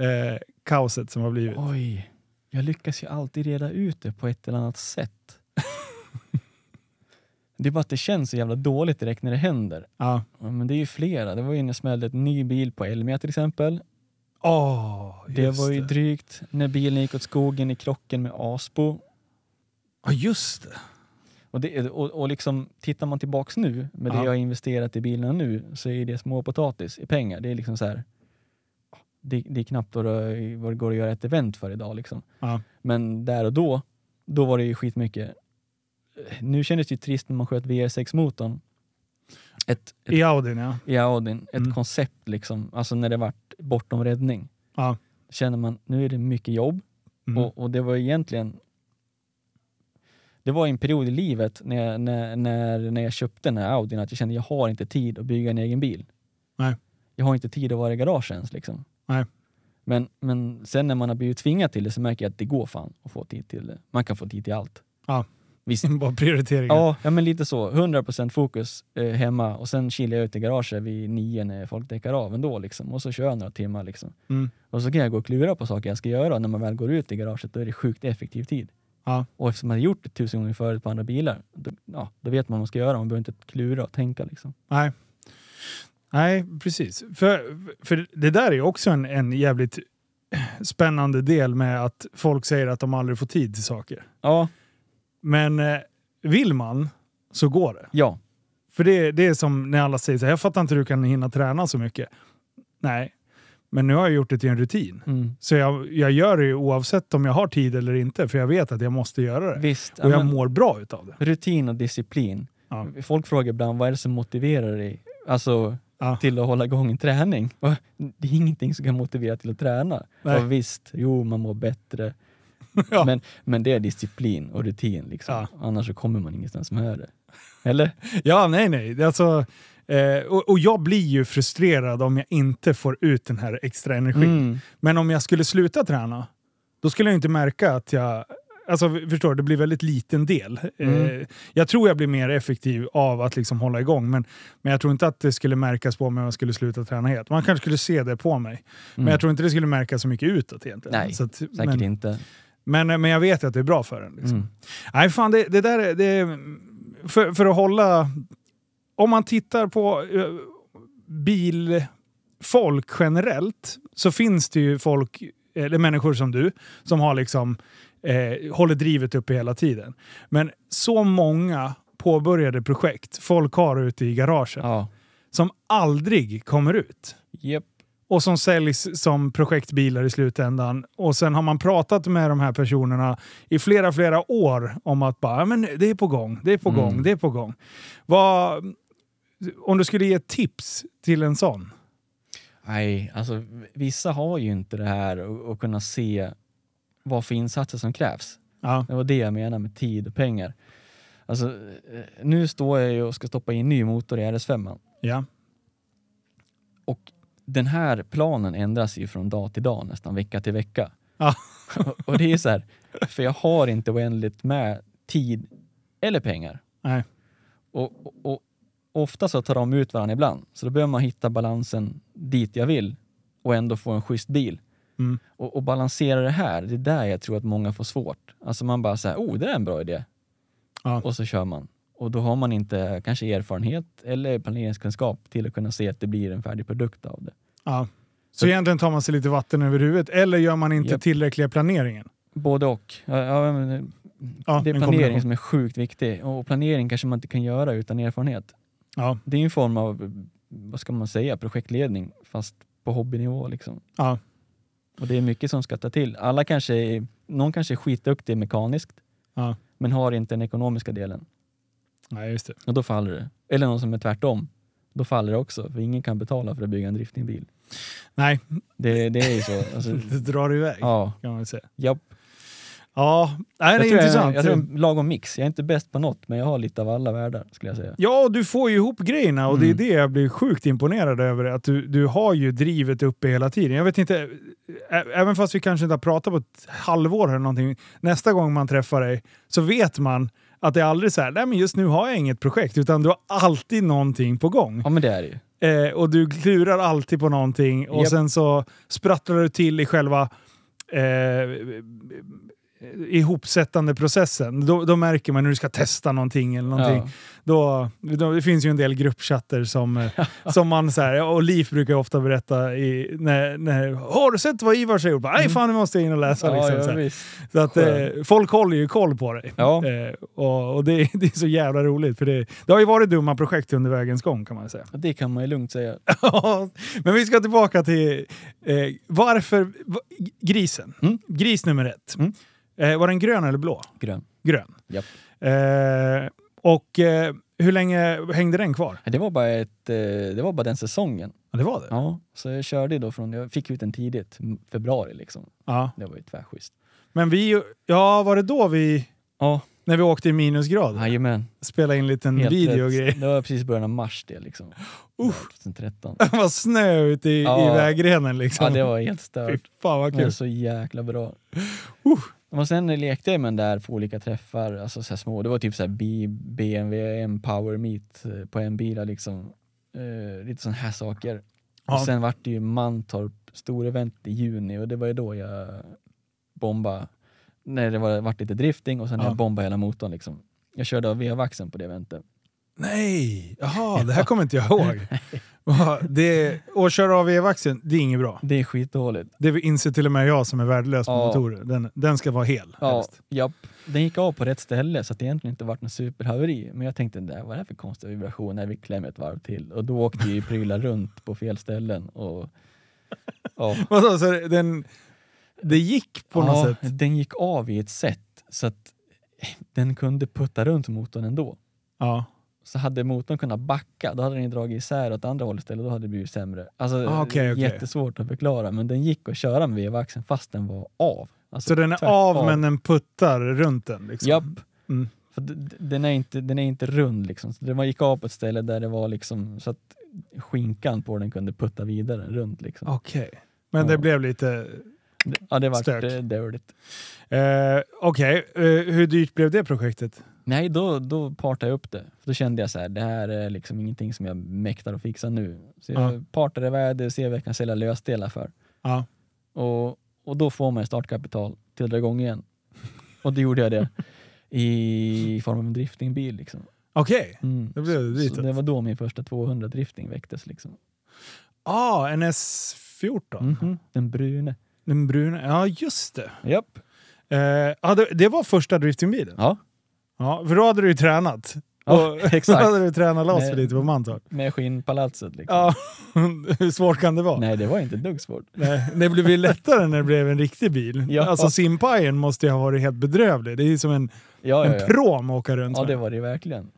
A: eh, kaoset som har blivit?
B: Oj. Jag lyckas ju alltid reda ut det på ett eller annat sätt. det är bara att det känns så jävla dåligt direkt när det händer.
A: Ja.
B: Ja, Men det är ju flera. Det var ju när jag smällde en ny bil på Elmia till exempel.
A: Åh,
B: Det
A: just
B: var ju
A: det.
B: drygt. När bilen gick åt skogen i krocken med Aspo.
A: Ja, just det.
B: Och, det, och, och liksom, tittar man tillbaks nu med det
A: Ja.
B: jag har investerat i bilarna nu så är det småpotatis i pengar. Det är liksom så här, det, det är knappt vad det, vad det går att göra ett event för idag. Liksom.
A: Ja.
B: Men där och då, då var det ju skitmycket. Nu kändes det ju trist när man sköt VR6-motorn. Ett, ett,
A: I Audin, ja.
B: I Audin, ett
A: Mm.
B: koncept liksom, alltså när det vart bortom räddning.
A: Ja.
B: Känner man, nu är det mycket jobb
A: Mm.
B: och, och det var egentligen det var en period i livet när jag, när, när, när jag köpte den här Audin att jag kände jag har inte tid att bygga en egen bil.
A: Nej.
B: Jag har inte tid att vara i garage ens. Liksom.
A: Nej.
B: Men, men sen när man har blivit tvingad till det så märker jag att det går fan att få tid till det. Man kan få tid till allt.
A: Ja.
B: Visst.
A: Bara prioriteringar.
B: Ja, ja, men lite så. 100% fokus eh, hemma och sen kilar jag ut i garaget vid nio när folk däckar av ändå. Liksom. Och så kör jag några timmar. Liksom.
A: Mm.
B: Och så kan jag gå och klura på saker jag ska göra och när man väl går ut i garaget då är det sjukt effektiv tid.
A: Ja.
B: Och eftersom man har gjort det tusen gånger förut på andra bilar, då, ja, då vet man vad man ska göra. Man behöver inte klura och tänka. Liksom.
A: Nej. Nej, precis. För, för det där är ju också en, en jävligt spännande del med att folk säger att de aldrig får tid till saker.
B: Ja,
A: Men eh, vill man så går det.
B: ja,
A: För det, det är som när alla säger så här, jag fattar inte hur du kan hinna träna så mycket. Nej, men nu har jag gjort det till en rutin.
B: mm.
A: Så jag, jag gör det ju oavsett om jag har tid eller inte, för jag vet att jag måste göra det.
B: visst. Ja,
A: Och jag
B: men,
A: mår bra utav det.
B: rutin och disciplin.
A: Ja.
B: Folk frågar ibland vad är det som motiverar dig alltså,
A: Ja.
B: till att hålla igång en träning? Och Det är ingenting som kan motivera till att träna.
A: Nej.
B: Ja, visst, jo man mår bättre.
A: Ja.
B: Men, men det är disciplin och rutin. Liksom.
A: Ja.
B: Annars så kommer man ingenstans med det. Eller?
A: Ja, nej, nej. Det är Alltså, eh, och, och jag blir ju frustrerad om jag inte får ut den här extra energin.
B: Mm.
A: Men om jag skulle sluta träna, då skulle jag inte märka att jag Alltså, förstår du, det blir väldigt liten del. Eh, jag tror jag blir mer effektiv av att liksom hålla igång, men, men jag tror inte att det skulle märkas på mig om jag skulle sluta träna helt. Man kanske skulle se det på mig, men jag tror inte det skulle märkas så mycket utåt egentligen.
B: Nej,
A: så att,
B: Säkert
A: men,
B: inte.
A: men, men jag vet att det är bra för en. Liksom.
B: Mm.
A: Nej, fan det, det där är... Det, är- för, för att hålla... Om man tittar på eh, bilfolk generellt så finns det ju folk, eller människor som du, som har liksom eh, håller drivet uppe hela tiden. Men så många påbörjade projekt folk har ute i garagen
B: Ja.
A: som aldrig kommer ut
B: Japp.
A: och som säljs som projektbilar i slutändan. Och sen har man pratat med de här personerna i flera, flera år om att bara, "Ja, men det är på gång, det är på
B: Mm.
A: gång, det är på gång. Vad, om du skulle ge ett tips till en sån?
B: Nej, alltså vissa har ju inte det här och, och kunna se vad för insatser som krävs.
A: Ja.
B: Det var det jag menade med tid och pengar. Alltså, eh, nu står jag ju och ska stoppa in ny motor i RS5.
A: ja.
B: Och den här planen ändras ju från dag till dag, nästan vecka till vecka.
A: Ja.
B: Och- och det är så här, för jag har inte oändligt med tid eller pengar.
A: Nej.
B: Och, och, och ofta så tar de ut varandra ibland, så då behöver man hitta balansen dit jag vill och ändå få en schysst bil.
A: Mm.
B: Och, och balansera det här, det är där jag tror att många får svårt. Alltså man bara säger, oh det där är en bra idé.
A: Ja.
B: Och så kör man. Och då har man inte kanske erfarenhet eller planeringskunskap till att kunna se att det blir en färdig produkt av det.
A: ja. Så egentligen tar man sig lite vatten över huvudet eller gör man inte
B: Japp.
A: tillräckliga planeringen?
B: Både och. Ja, ja, men,
A: Ja,
B: det är
A: en
B: planering
A: kombination.
B: som är sjukt viktig och planering kanske man inte kan göra utan erfarenhet.
A: Ja,
B: Det är ju en form av, vad ska man säga, projektledning fast på hobbynivå liksom.
A: ja,
B: Och det är mycket som ska ta till. Alla kanske är, någon kanske är skitduktig mekaniskt
A: ja.
B: men har inte den ekonomiska delen
A: Nej, just det.
B: och då faller det. Eller någon som är tvärtom. Då faller det också för ingen kan betala för att bygga en drifting bil.
A: Nej,
B: Det, det är ju så. Alltså,
A: det drar iväg
B: ja,
A: kan man väl säga.
B: japp.
A: Ja, Nej, det är
B: jag, tror jag,
A: intressant.
B: jag tror en lagom mix. Jag är inte bäst på något men jag har lite av alla världar skulle jag säga.
A: Ja, du får ju ihop grejerna och
B: Mm.
A: det är det jag blir sjukt imponerad över. Att du, du har ju drivet uppe hela tiden. Jag vet inte, ä- även fast vi kanske inte har pratat på ett halvår eller någonting. Nästa gång man träffar dig så vet man att det är aldrig så här, nej men just nu har jag inget projekt, utan du har alltid någonting på gång.
B: Ja men det är det ju.
A: Eh, och du klurar alltid på någonting och
B: Japp.
A: sen så sprattlar du till i själva eh, ihopsättande processen. Då, då märker man när du ska testa någonting eller någonting
B: Ja.
A: då, då, det finns ju en del gruppchatter som, eh, som man så här, och Liv brukar ju ofta berätta i, när, när, har du sett vad Ivar har gjort? Bara, Nej fan nu måste jag in och läsa. liksom, så
B: Mm. ja,
A: här.
B: visst.
A: så att, eh, folk håller ju koll på dig.
B: Ja.
A: Eh, och och det, det är så jävla roligt för det, det har ju varit dumma projekt under vägens gång kan man säga.
B: Det kan man ju lugnt säga.
A: Ja, Men vi ska tillbaka till eh, varför va, grisen.
B: Mm.
A: Gris nummer ett.
B: Mm.
A: Eh, var den grön eller blå?
B: Grön.
A: Grön.
B: Japp.
A: Eh, och eh, hur länge hängde den kvar?
B: Det var bara, ett, eh, det var bara den säsongen.
A: Ja, det var det.
B: Ja, så jag körde ju då från, jag fick ut den tidigt, m- februari liksom.
A: Ja.
B: Det var ju tvärschysst.
A: Men vi, ja var det då vi,
B: Ja,
A: när vi åkte i minusgrad,
B: jajamän.
A: spelade in en liten
B: Helt
A: video och
B: rätt.
A: grejer.
B: Det var precis början av mars det liksom. Usch. 2013.
A: Det var snö ute i, i
B: Ja.
A: vägrenen liksom.
B: Ja, det var helt
A: Fy
B: stört.
A: fan vad
B: Det var
A: kul.
B: så jäkla bra.
A: Uh.
B: Och sen lekte jag med den där på olika träffar, alltså så här små. Det var typ så här B- BMW, M Power Meet eh, på en bil liksom. Eh, lite sådana här saker.
A: Ja.
B: Och sen vart det ju Mantorp stor event i juni och det var ju då jag bombade. När det var, vart lite drifting och sen när
A: Ja.
B: jag bombade hela motorn liksom. Jag körde av vevaxeln på det eventet.
A: Nej, jaha, det här kommer inte jag ihåg. Va, Det, och köra av vevaxeln, det är inget bra.
B: Det är skitdåligt.
A: Det inser till och med jag som är värdelös på
B: Ja.
A: motorer. Den, den ska vara hel.
B: Ja,
A: helst.
B: japp. Den gick av på rätt ställe så att det egentligen inte vart något superhaveri. Men jag tänkte, där, vad är det här för konstiga vibrationer? Vi klämmer ett varv till. Och då åkte ju prylar runt på fel ställen. Och, ja.
A: Vadå, så den, det gick på något
B: ja,
A: sätt?
B: Den gick av i ett sätt så att eh, den kunde putta runt motorn ändå.
A: Ja.
B: så hade motorn kunnat backa, då hade den ju dragit isär åt andra hållet istället, då hade det blivit sämre. Alltså,
A: Ah, okej, okej.
B: Jättesvårt att förklara, men den gick att köra med vevaxeln fast den var av. Alltså,
A: Så den är
B: tvärt
A: av men den puttar runt den? Liksom.
B: Japp.
A: Mm.
B: För d- d- den, är inte, den är inte rund liksom, så den var- gick av på ett ställe där det var liksom så att skinkan på den kunde putta vidare runt liksom.
A: Okej. Men det
B: Ja.
A: blev lite
B: Ja, det vart
A: Stök.
B: eh, dåligt.
A: Eh, Okej, eh, hur dyrt blev det projektet?
B: Nej, då, då partade jag upp det. För då kände jag så här, det här är liksom ingenting som jag mäktar att fixa nu. Så jag
A: Ja.
B: partade iväg det och ser vad jag kan sälja lösdelar för.
A: Ja.
B: Och, och då får man startkapital till att dra igång igen. Och då gjorde jag det i form av en driftingbil. Liksom.
A: Okej,
B: Mm.
A: då blev det dyrt.
B: Så det var då min första 200 drifting väcktes. Liksom.
A: Ah, en S14.
B: Mhm, Den brune.
A: Den bruna. Ja, just det.
B: Japp.
A: Eh, ja, det, det var första driftingbilen.
B: Ja,
A: Ja, för då hade du ju tränat.
B: ja
A: Då
B: exakt.
A: hade du tränat loss för
B: Nej.
A: lite på Mantorp.
B: Med skinnpalatset. Liksom.
A: Ja, hur svårt kan det vara?
B: Nej, det var inte ett dugg svårt.
A: Nej, det blev ju lättare när det blev en riktig bil.
B: Ja.
A: Alltså Simpajen måste ju ha varit helt bedrövlig. Det är ju som en,
B: Ja, ja,
A: en
B: ja.
A: pråm att åka runt
B: ja,
A: med.
B: det var det verkligen.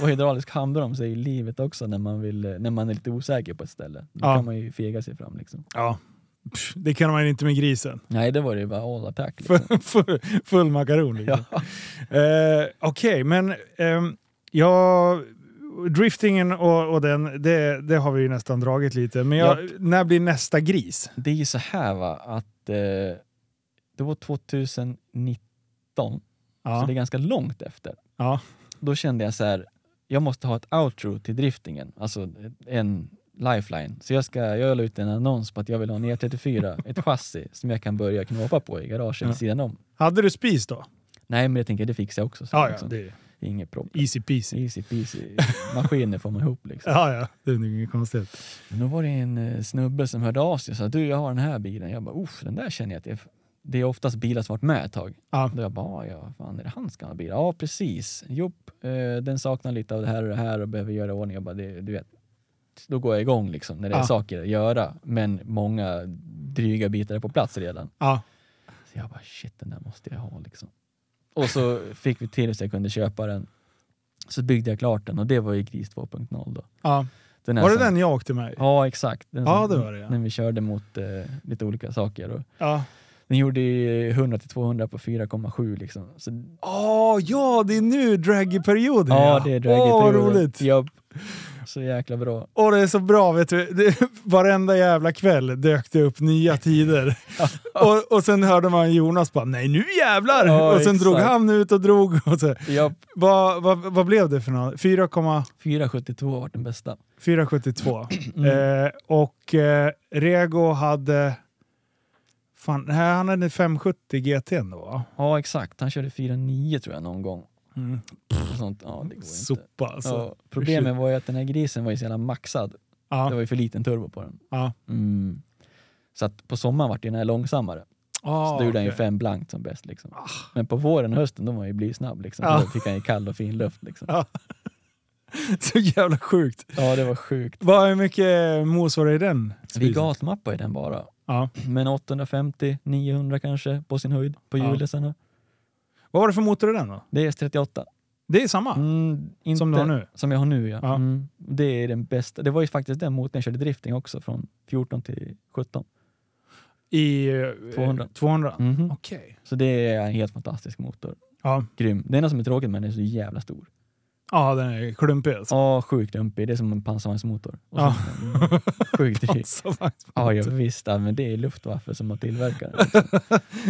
B: Och hydraulisk handbroms är ju livet också när man, vill, när man är lite osäker på ett ställe. Då
A: Ja.
B: kan man ju fega sig fram. Liksom.
A: Ja. Pff, det kan man ju inte med grisen.
B: Nej, det var det ju bara all attack. Liksom.
A: Full, full, full makaron. Liksom.
B: Ja.
A: Eh, Okej, men ehm, ja, driftingen och, och den, det, det har vi ju nästan dragit lite. Men jag, när blir nästa gris?
B: Det är ju så här va, att eh, det var 2019, så
A: Ja,
B: det är ganska långt efter.
A: ja,
B: Då kände jag så här, jag måste ha ett outro till driftingen, alltså en lifeline. Så jag, ska, jag la ut en annons på att jag vill ha en E34, ett chassi som jag kan börja knåpa på i garaget
A: Ja.
B: vid sidan om.
A: Hade du spis då?
B: Nej, men jag tänker det fixar jag också. Så
A: Ja, ja,
B: liksom.
A: det är
B: Inget problem.
A: easy peasy.
B: Easy peasy. Maskiner får man ihop liksom.
A: Ja, ja, det är inget konstigt.
B: Men då var det en eh, snubbe som hörde av sig och sa du jag har den här bilen. Jag bara uff den där känner jag att det är, det är oftast bilar som varit med ett tag.
A: Ja.
B: Då jag bara ja fan är det hans gamla bil? Ja precis. Jopp eh, den saknar lite av det här och det här och behöver göra i ordning. Jag bara det, du vet. Då går jag igång liksom när det är
A: Ja.
B: saker att göra. Men många dryga bitar är på plats redan.
A: Ja,
B: Så jag bara shit den där måste jag ha liksom. Och så fick vi till så jag kunde köpa den. Så byggde jag klart den och det var ju Gris 2.0 då.
A: ja.
B: Den här
A: Var det
B: som-
A: den jag åkte med?
B: Ja, exakt. Den
A: Ja,
B: som-
A: det var det, ja.
B: När vi körde mot eh, lite olika saker. Och
A: Ja.
B: den gjorde ju 100-200 på 4,7 liksom. Så,
A: Åh, ja, det är nu draggy-perioden.
B: ja, det är dragigt.
A: Åh, vad
B: Det var-
A: roligt.
B: Japp. Så jäkla bra.
A: Åh, det är så bra. Vet du. Det, varenda jävla kväll dök det upp nya tider. och, och sen hörde man Jonas bara “Nej, nu jävlar!”
B: Ja,
A: och sen
B: exakt.
A: drog han ut och drog. Och så.
B: Japp.
A: Vad, vad, vad blev det för något? 4,472.
B: 4,72 var den bästa. Mm.
A: Eh, och eh, Rego hade... Fan, nej, han hade 570 GT ändå va?
B: Ja, exakt. Han körde 4,9 tror jag någon gång.
A: Mm.
B: Och sånt. Ja, det går inte.
A: Sopa alltså.
B: Ja, problemet var ju att den här grisen var ju så jävla maxad. Det
A: Ja.
B: var ju för liten turbo på den.
A: Ja.
B: Mm. Så att på sommaren vart ju den här långsammare.
A: Ah,
B: Så då gjorde han ju
A: okej. Ah.
B: fem blankt som bäst. Liksom. Men på våren och hösten, då var han ju blysnabb. Liksom.
A: Ja.
B: Då fick han ju kall och fin luft. Liksom.
A: Ja. Så jävla sjukt.
B: Ja, det var sjukt.
A: Vad, hur mycket mos var det i den?
B: Vi
A: spisen?
B: gatmappade ju den bara.
A: Ja.
B: Men 850-900 kanske på sin höjd på
A: Ja.
B: hjulisarna.
A: Vad var det för motor i den då?
B: Det är S38.
A: Det är samma?
B: Mm, inte,
A: Ah. Som du har nu? Ah.
B: Som jag har nu ja.
A: Ja.
B: Mm, det är den bästa. Det var ju faktiskt den motorn jag körde drifting också från 14 till 17.
A: I eh,
B: 200.
A: 200.
B: Mhm.
A: Okej.
B: Så det är en helt fantastisk motor.
A: Ja.
B: Grym. Det enda som är tråkigt med den är så jävla stor.
A: ja, den är klumpig alltså.
B: Ja, sjukt lumpig. Det är som en pansarvagnsmotor. Och
A: Ja.
B: sen- Sjukt dryg.
A: Alltså,
B: Ja, jag visste, men det är Luftwaffe som har tillverkat den.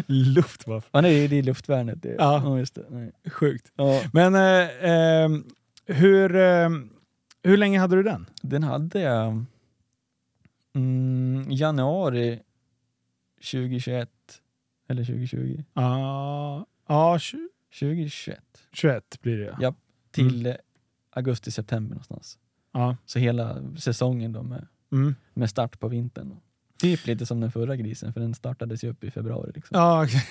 A: Luftwaffe.
B: Ja, nej, det är luftvärnet. Det.
A: Ja.
B: just det. Nej.
A: Sjukt.
B: Ja,
A: Men eh, eh, hur, eh, hur länge hade du den?
B: den hade jag mm, januari 2021. Eller 2020?
A: Ja, ja tju-
B: 2021.
A: 21 blir det.
B: Ja. Till eh, augusti, september någonstans.
A: ja.
B: Så hela säsongen då med,
A: Mm.
B: med start på vintern. Typ lite som den förra grisen, för den startades ju upp i februari. Liksom.
A: ja okej.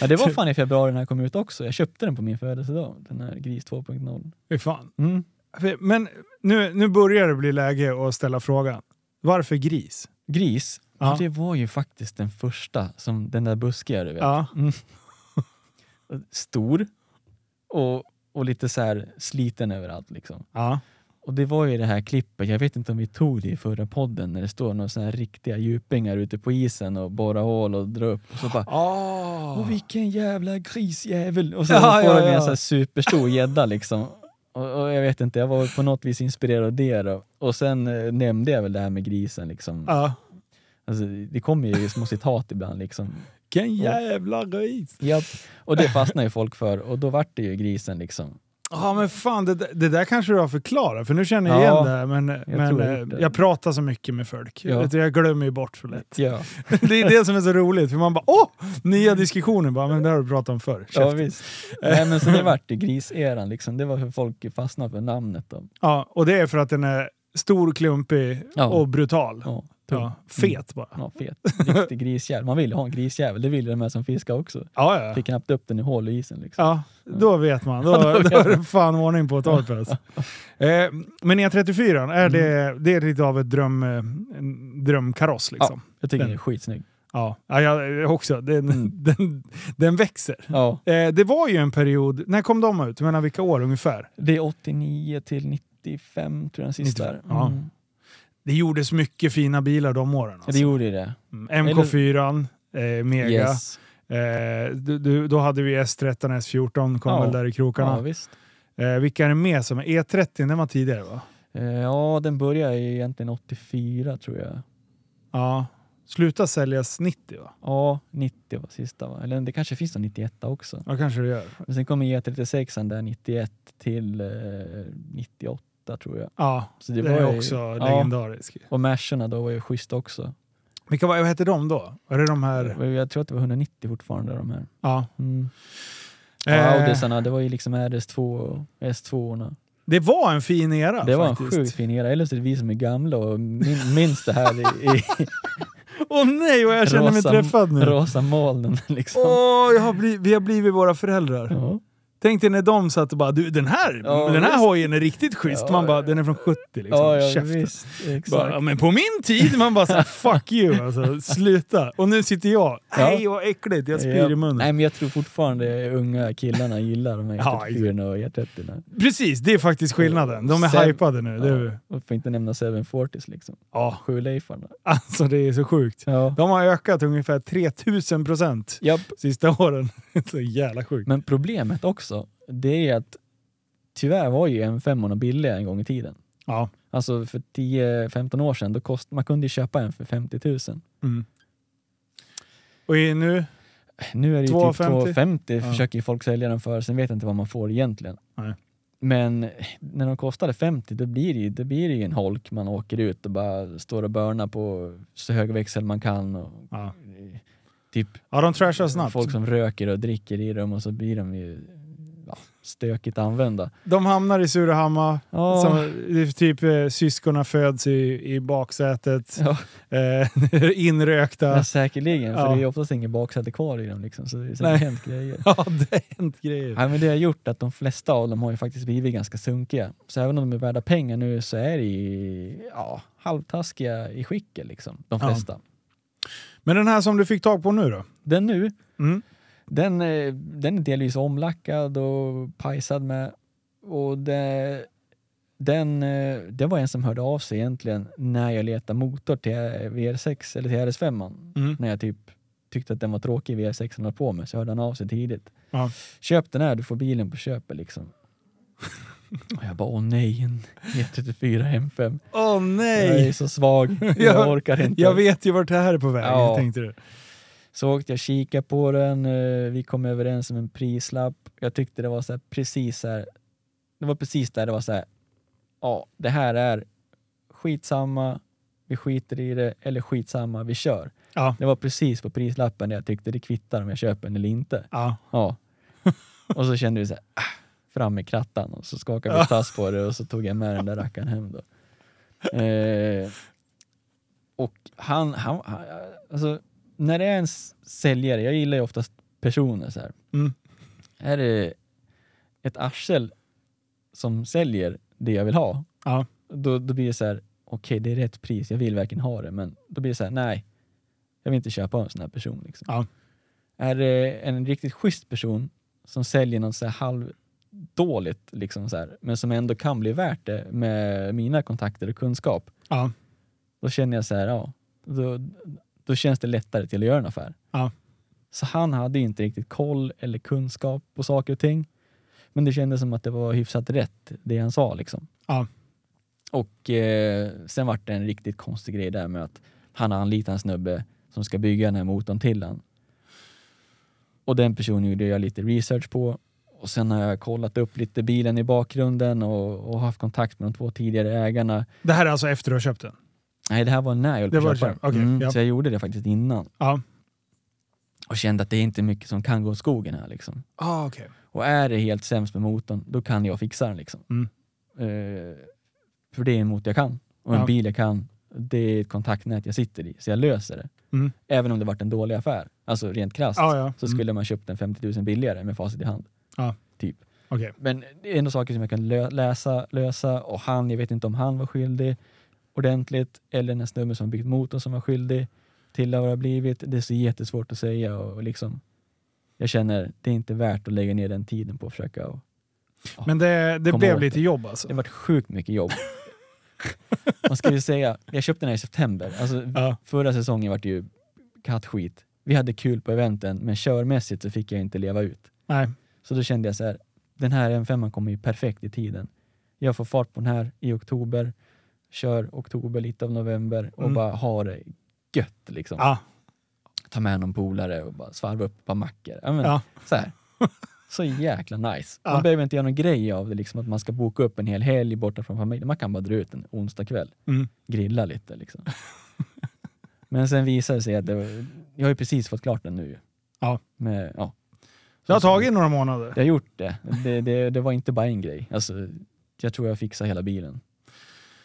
B: Ja, det var fan i februari när den kom ut också. Jag köpte den på min födelsedag, den här Gris 2.0.
A: Fy fan.
B: Mm.
A: Men nu, nu börjar det bli läge att ställa frågan. Varför gris?
B: Gris,
A: Ja.
B: ja. det var ju faktiskt den första, som den där buskiga du vet.
A: Ja.
B: Stor och, och lite så här sliten överallt liksom.
A: ja.
B: Och det var ju det här klippet, jag vet inte om vi tog det i förra podden, när det står några sådana här riktiga djupingar ute på isen och borrar hål och drar upp och så bara
A: Oh.
B: Åh vilken jävla grisjävel! Och så
A: Ja,
B: får
A: ja,
B: de med
A: ja.
B: en sån här superstor gädda liksom. Och, och jag vet inte, jag var på något vis inspirerad av det då. Och sen eh, nämnde jag väl det här med grisen liksom.
A: Ja.
B: Alltså, det kommer ju små citat ibland liksom.
A: Vilken jävla gris!
B: Japp. Och det fastnar ju folk för och då vart det ju grisen liksom.
A: Ja men fan, det, det där kanske du har förklarat för nu känner jag
B: Ja,
A: igen det här men, men
B: tror jag
A: eh,
B: gjort det.
A: jag pratar så mycket med folk.
B: Ja.
A: Vet du, Jag glömmer ju bort så lätt.
B: Ja,
A: Det är det som är så roligt för man bara åh! Nya diskussioner bara, men det har du pratat om förr.
B: ja
A: Ja,
B: visst. Nej men så det vart ju griseran liksom. Det var hur folk fastnade för namnet då.
A: ja, och det är för att den är stor, klumpig
B: Ja.
A: och brutal.
B: Ja, Mm. tung.
A: Ja, fet bara.
B: Ja, fet. Riktig grisjävel. Man vill ju ha en grisjävel, det vill ju de här som fiskar också.
A: Ja, ja.
B: Fick knappt upp den i hål i isen liksom.
A: Ja, då vet man. Då,
B: Ja, då vet
A: då är det fan ordning på torpet. eh, men E34, är
B: Mm.
A: det, det är lite av ett dröm, eh, en drömkaross liksom.
B: Jag tycker
A: Den-
B: den är skitsnygg.
A: Ja, ja. jag också. Den,
B: Mm.
A: den, den växer.
B: Ja,
A: Eh, det var ju en period, när kom de ut? Jag menar vilka år ungefär?
B: det är 89 till 95 tror jag den sista är.
A: 95, ja.
B: Mm.
A: Det gjordes mycket fina bilar de åren.
B: Ja, det
A: Alltså.
B: gjorde ju det.
A: Mm, MK4, eh, Mega.
B: Yes.
A: Eh, du, du, då hade vi S13 S14, kom
B: Ja.
A: väl där i
B: Ja,
A: krokarna.
B: visst.
A: eh, vilka är det med som är E30? Den var tidigare va?
B: Eh, Ja, den börjar ju egentligen 84 tror jag.
A: Ja. Sluta säljas 90 va?
B: Ja, 90 var sista va? Eller det kanske finns någon 91 också.
A: Ja, kanske det gör.
B: Men sen kommer E36 där 91 till eh, 98 tror jag.
A: Ja,
B: Så
A: det,
B: det,
A: är
B: var ju,
A: också
B: ja.
A: legendarisk.
B: Och Mercerna då var ju schysst också.
A: Vilka var, vad hette de då? Var det de här?
B: Jag tror att det var 190 fortfarande de här.
A: Ja.
B: Mm. Ja,
A: Eh,
B: Audisarna, det var ju liksom RS2 och S2orna.
A: det var en fin era
B: Det var en
A: faktiskt.
B: sjukt fin era, eller så är det vi som är gamla och min, minns det här i, i
A: Åh nej, och jag känner mig
B: Rosa-
A: träffad nu.
B: rosa molnen. Liksom.
A: Åh, jag har bli- vi har blivit våra föräldrar.
B: Ja.
A: Tänk dig när de satt och bara du den här,
B: Ja,
A: den här
B: visst.
A: hojen är riktigt schysst.
B: Ja,
A: Man bara
B: ja.
A: den är från 70 liksom.
B: ja, ja
A: Käften.
B: visst. Exakt.
A: Bara, men på min tid, man bara såhär fuck you alltså, sluta. Och nu sitter jag,
B: Ja.
A: nej vad äckligt, jag spyr
B: Ja.
A: i munnen.
B: Nej, men jag tror fortfarande unga killarna gillar de här
A: Ja, exakt.
B: 144 och E E30.
A: Precis, det är faktiskt skillnaden. De är
B: Sen-
A: hypade nu. Det är, ju-
B: Och får inte nämna 740s liksom.
A: ja,
B: Sjulejfarna.
A: alltså det är så sjukt.
B: Ja.
A: De har ökat ungefär 3000 procent
B: Japp.
A: sista åren. så jävla sjukt.
B: Men problemet också, det är att tyvärr var ju M5 billiga en gång i tiden.
A: Ja.
B: Alltså för 10-15 år sedan, då kost, man kunde ju köpa en för 50 000.
A: Mm. Och i- nu?
B: Nu är det ju
A: 250.
B: typ 250
A: Ja.
B: försöker ju folk sälja den för, sen vet jag inte vad man får egentligen.
A: Nej.
B: Men när de kostade 50 då blir, det ju, då blir det ju en holk man åker ut och bara står och börnar på så hög växel man kan. Och,
A: Ja,
B: eh, typ
A: ja de trashar snabbt.
B: folk som röker och dricker i dem och så blir de ju ja, stökigt använda.
A: De hamnar i Surahammar,
B: Ja.
A: som, det är typ eh, syskonen föds i, i baksätet,
B: Ja.
A: eh, inrökta.
B: Ja, säkerligen, för
A: Ja.
B: det är ju oftast ingen baksäte kvar i dem liksom, så det är
A: Nej.
B: säkert hänt grejer.
A: Ja, det har hänt grejer.
B: Ja, men det har gjort att de flesta av dem har ju faktiskt blivit ganska sunkiga. Så även om de är värda pengar nu så är det ju, ja, halvtaskiga i skicket liksom, de
A: Ja.
B: flesta.
A: Men den här som du fick tag på nu då?
B: Den nu,
A: Mm.
B: den, eh, den är delvis omlackad och pajsad med. Och det, den, eh, det var en som hörde av sig egentligen när jag letade motor till VR6 eller till RS5.
A: Mm.
B: När jag typ tyckte att den var tråkig VR6 han hade på mig så hörde han av sig tidigt.
A: Ja.
B: Köp den här, du får bilen på köpet liksom. Och jag bara, åh nej, en E34 M5.
A: Åh
B: Jag är
A: nej!
B: så svag, jag,
A: Jag-
B: orkar inte.
A: Jag vet ju vart det här är på väg,
B: Ja.
A: tänkte du.
B: Så åkte jag kika på den, eh, vi kom överens om en prislapp. Jag tyckte det var så här precis så här. Det var precis där det var så här. Ja, det här är skitsamma, vi skiter i det, eller skitsamma, vi kör.
A: Ja.
B: Det var precis på prislappen där jag tyckte det kvittar om jag köper den eller inte.
A: Ja.
B: Ja. Och så kände vi så här, ah, fram med krattan och så skakade
A: Ja.
B: vi tass på det och så tog jag med den där rackaren hem då. Eh, och han, han, han, alltså när det är en s- säljare, jag gillar ju oftast personer så här.
A: Mm.
B: Är det ett arsel som säljer det jag vill ha,
A: Ja.
B: då, då blir det så här, okej det är rätt pris, jag vill verkligen ha det, men då blir det så här, nej, jag vill inte köpa av en sån här person. Liksom.
A: Ja.
B: Är det en riktigt schysst person som säljer något så här halvdåligt, liksom så här, men som ändå kan bli värt det med mina kontakter och kunskap,
A: Ja.
B: då känner jag så här, ja, då, då känns det lättare till att göra en affär.
A: Ja.
B: Så han hade ju inte riktigt koll eller kunskap på saker och ting. Men det kändes som att det var hyfsat rätt, det han sa liksom.
A: Ja.
B: Och eh, sen vart det en riktigt konstig grej där med att Han har anlitat en snubbe som ska bygga den här motorn till han. Och den personen gjorde jag lite research på och sen har jag kollat upp lite bilen i bakgrunden och, och haft kontakt med de två tidigare ägarna.
A: Det här är alltså efter du har köpt den?
B: Nej, det här var när jag höll på
A: Det var
B: att köpa
A: det,
B: den.
A: okej,
B: mm,
A: ja.
B: Så jag gjorde det faktiskt innan
A: Ja.
B: och kände att det är inte mycket som kan gå åt skogen här liksom.
A: Ah, okej.
B: Och är det helt sämst med motorn, då kan jag fixa den liksom.
A: Mm.
B: Eh, för det är en motor jag kan och en
A: Ja.
B: bil jag kan. Det är ett kontaktnät jag sitter i, så jag löser det.
A: Mm.
B: Även om det varit en dålig affär, alltså rent krasst,
A: Ja, ja.
B: så
A: Mm.
B: skulle man köpt den 50 000 billigare med facit i hand.
A: Ja.
B: Typ.
A: Okej.
B: Men det är ändå saker som jag kan lö- läsa, lösa och han, jag vet inte om han var skyldig ordentligt eller den här snubben som byggt motorn som var skyldig till vad det har blivit. Det är så jättesvårt att säga och, och liksom jag känner det är inte värt att lägga ner den tiden på att försöka. Och,
A: Men det, det
B: Kom
A: blev
B: åt
A: lite
B: det.
A: jobb
B: det har
A: alltså?
B: varit sjukt mycket jobb. Man ska ju säga, jag köpte den här i september. Alltså,
A: Ja.
B: Förra säsongen var det ju kattskit. Vi hade kul på eventen men körmässigt så fick jag inte leva ut.
A: Nej.
B: Så då kände jag så här, den här M5 kommer ju perfekt i tiden. Jag får fart på den här i oktober, kör oktober, lite av november och
A: Mm.
B: bara har det gött liksom.
A: Ja.
B: Ta med någon polare och bara svarva upp ett par mackor. Ja, men,
A: Ja.
B: så, här. så jäkla nice. Man
A: Ja.
B: behöver inte göra någon grej av det, liksom, att man ska boka upp en hel helg borta från familjen. Man kan bara dra ut en onsdag kväll
A: Mm.
B: grilla lite. Liksom. Men sen visade det sig att det var, jag har ju precis fått klart den nu.
A: Ja.
B: Med, ja.
A: Det har tagit några månader.
B: Jag har gjort det. Det, det. det var inte bara en grej. Alltså, jag tror jag fixar hela bilen.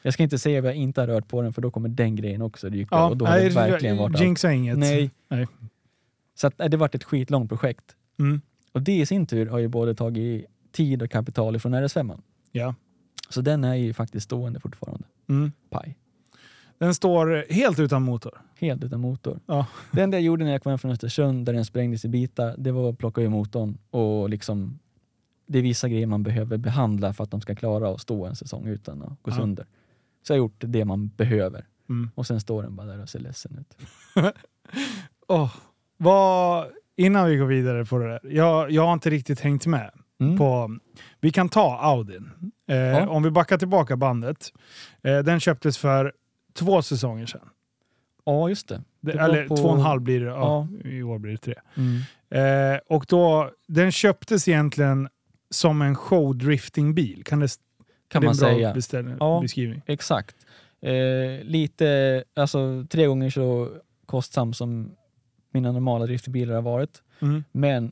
B: Jag ska inte säga vad jag inte har rört på den för då kommer den grejen också dyka
A: Ja,
B: och då har det
A: nej,
B: verkligen varit allt.
A: Jinxa inget.
B: Nej.
A: Nej.
B: Så att, nej, det varit ett skitlångt projekt.
A: Mm.
B: Och det i sin tur har ju både tagit tid och kapital ifrån RS5.
A: Ja.
B: Så den är ju faktiskt stående fortfarande.
A: Mm.
B: Paj.
A: Den står helt utan motor.
B: Helt utan motor.
A: Ja.
B: Det enda jag gjorde när jag kom hem från Östersund där den sprängdes i bitar, det var att plocka ur motorn och liksom det är vissa grejer man behöver behandla för att de ska klara att stå en säsong utan att gå
A: Ja.
B: sönder. Så jag har gjort det man behöver
A: Mm.
B: och sen står den bara där och ser ledsen ut.
A: Åh. Vad, innan vi går vidare på det där. Jag, jag har inte riktigt hängt med.
B: Mm.
A: På, vi kan ta Audin. Eh,
B: Ja.
A: Om vi backar tillbaka bandet. Eh, den köptes för två säsonger sedan.
B: Ja, just det.
A: Det,
B: Det var
A: eller
B: på-
A: två och en halv blir det. Ja, I år blir det tre.
B: Mm.
A: Eh, och då, den köptes egentligen som en showdriftingbil. Kan det,
B: Kan
A: det är
B: man
A: en bra
B: säga.
A: beställ-
B: Ja.
A: beskrivning?
B: Exakt. Eh, lite, alltså tre gånger så kostsam som mina normala driftbilar har varit.
A: Mm.
B: men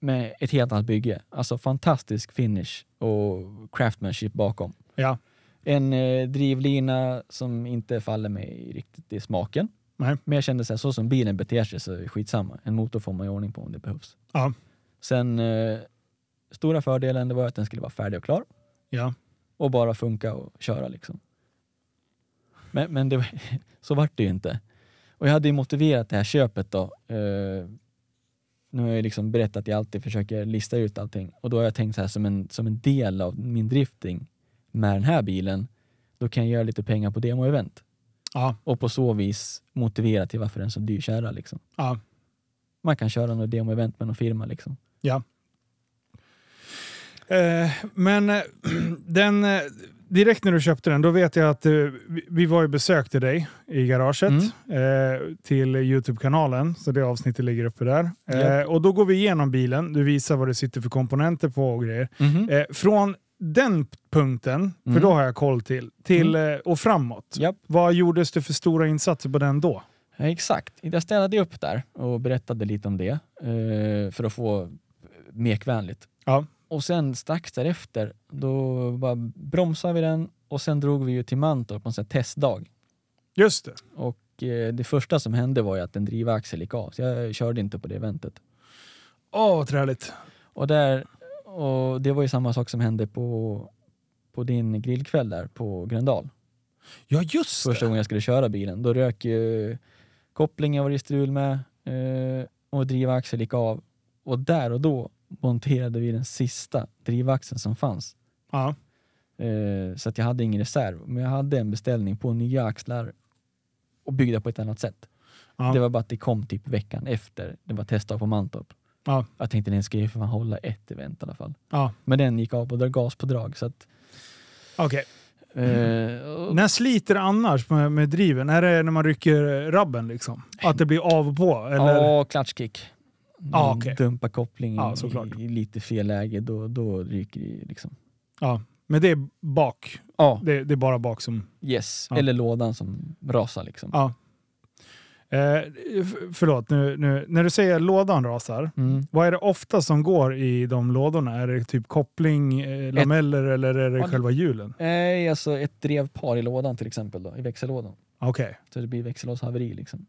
B: med ett helt annat bygge. Alltså fantastisk finish och craftmanship bakom.
A: Ja.
B: En eh, drivlina som inte faller mig riktigt i smaken.
A: Nej.
B: Men jag kände så här, så som bilen beter sig så är det skitsamma. En motor får man i ordning på om det behövs.
A: Ja.
B: Sen, eh, stora fördelen det var att den skulle vara färdig och klar
A: Ja.
B: och bara funka och köra liksom. Men, men det, var- så vart det ju inte. Och jag hade ju motiverat det här köpet då. Eh, nu har jag ju liksom berättat att jag alltid försöker lista ut allting och då har jag tänkt så här som en, som en del av min drifting med den här bilen, då kan jag göra lite pengar på demo-event
A: Ja.
B: och på så vis motivera till varför den är så dyr kärra liksom.
A: ja.
B: Man kan köra något demo-event med någon firma liksom.
A: Eh, men eh, den, eh, direkt när du köpte den, då vet jag att eh, vi- vi var ju besökte dig i garaget eh, till Youtube-kanalen, så det avsnittet ligger uppe där. Eh,
B: Japp.
A: Och då går vi igenom bilen, du visar vad det sitter för komponenter på och grejer. Eh, från den punkten, för
B: Mm.
A: då har jag koll till, till eh, och framåt.
B: Japp.
A: Vad gjordes det för stora insatser på den då?
B: Ja, Eh, exakt. Jag ställde upp där och berättade lite om det eh, för att få mekvänligt.
A: Ja.
B: Och sen strax därefter, då bara bromsade vi den och sen drog vi ju till Mantorp på en sån här testdag.
A: Just det.
B: Och eh, det första som hände var ju att en drivaxel gick av, så jag körde inte på det eventet.
A: Åh, vad träligt.
B: Och, där, och det var ju samma sak som hände på, på din grillkväll där på Gröndal.
A: Ja, just
B: första
A: det.
B: gången jag skulle köra bilen. Då rök ju kopplingen var det strul med eh, och drivaxeln gick av. Och där och då monterade vi den sista drivaxeln som fanns.
A: Ja.
B: Eh, så att jag hade ingen reserv. Men jag hade en beställning på nya axlar och byggda på ett annat sätt.
A: Ja.
B: Det var bara att det kom typ veckan efter det var testdag på Mantorp.
A: Ja.
B: Jag tänkte den ska ju för fan hålla ett event i alla fall.
A: Ja,
B: Men den gick av och drog gaspådrag. Så att
A: okej.
B: Eh, och-
A: När sliter det annars med, med driven? Är det när man rycker rabben liksom? Att det blir av och på? Eller?
B: Ja, klatschkick. Ah,
A: Ja, okej.
B: Dumpa kopplingen
A: Ja, såklart.
B: i, i lite fel läge, då, då ryker det ju liksom.
A: Ja. Men det är bak.
B: Ja,
A: Det, det är bara bak som...
B: yes.
A: Ja.
B: Eller lådan som rasar liksom.
A: Ja. Eh, f- förlåt, nu, nu, när du säger lådan rasar,
B: Mm.
A: vad är det ofta som går i de lådorna? Är det typ koppling, eh, lameller eller är det
B: Ja, det-
A: själva hjulen?
B: Nej, alltså ett drevpar i lådan till exempel, då, i växellådan.
A: Okej.
B: Så det blir växellådshaveri liksom.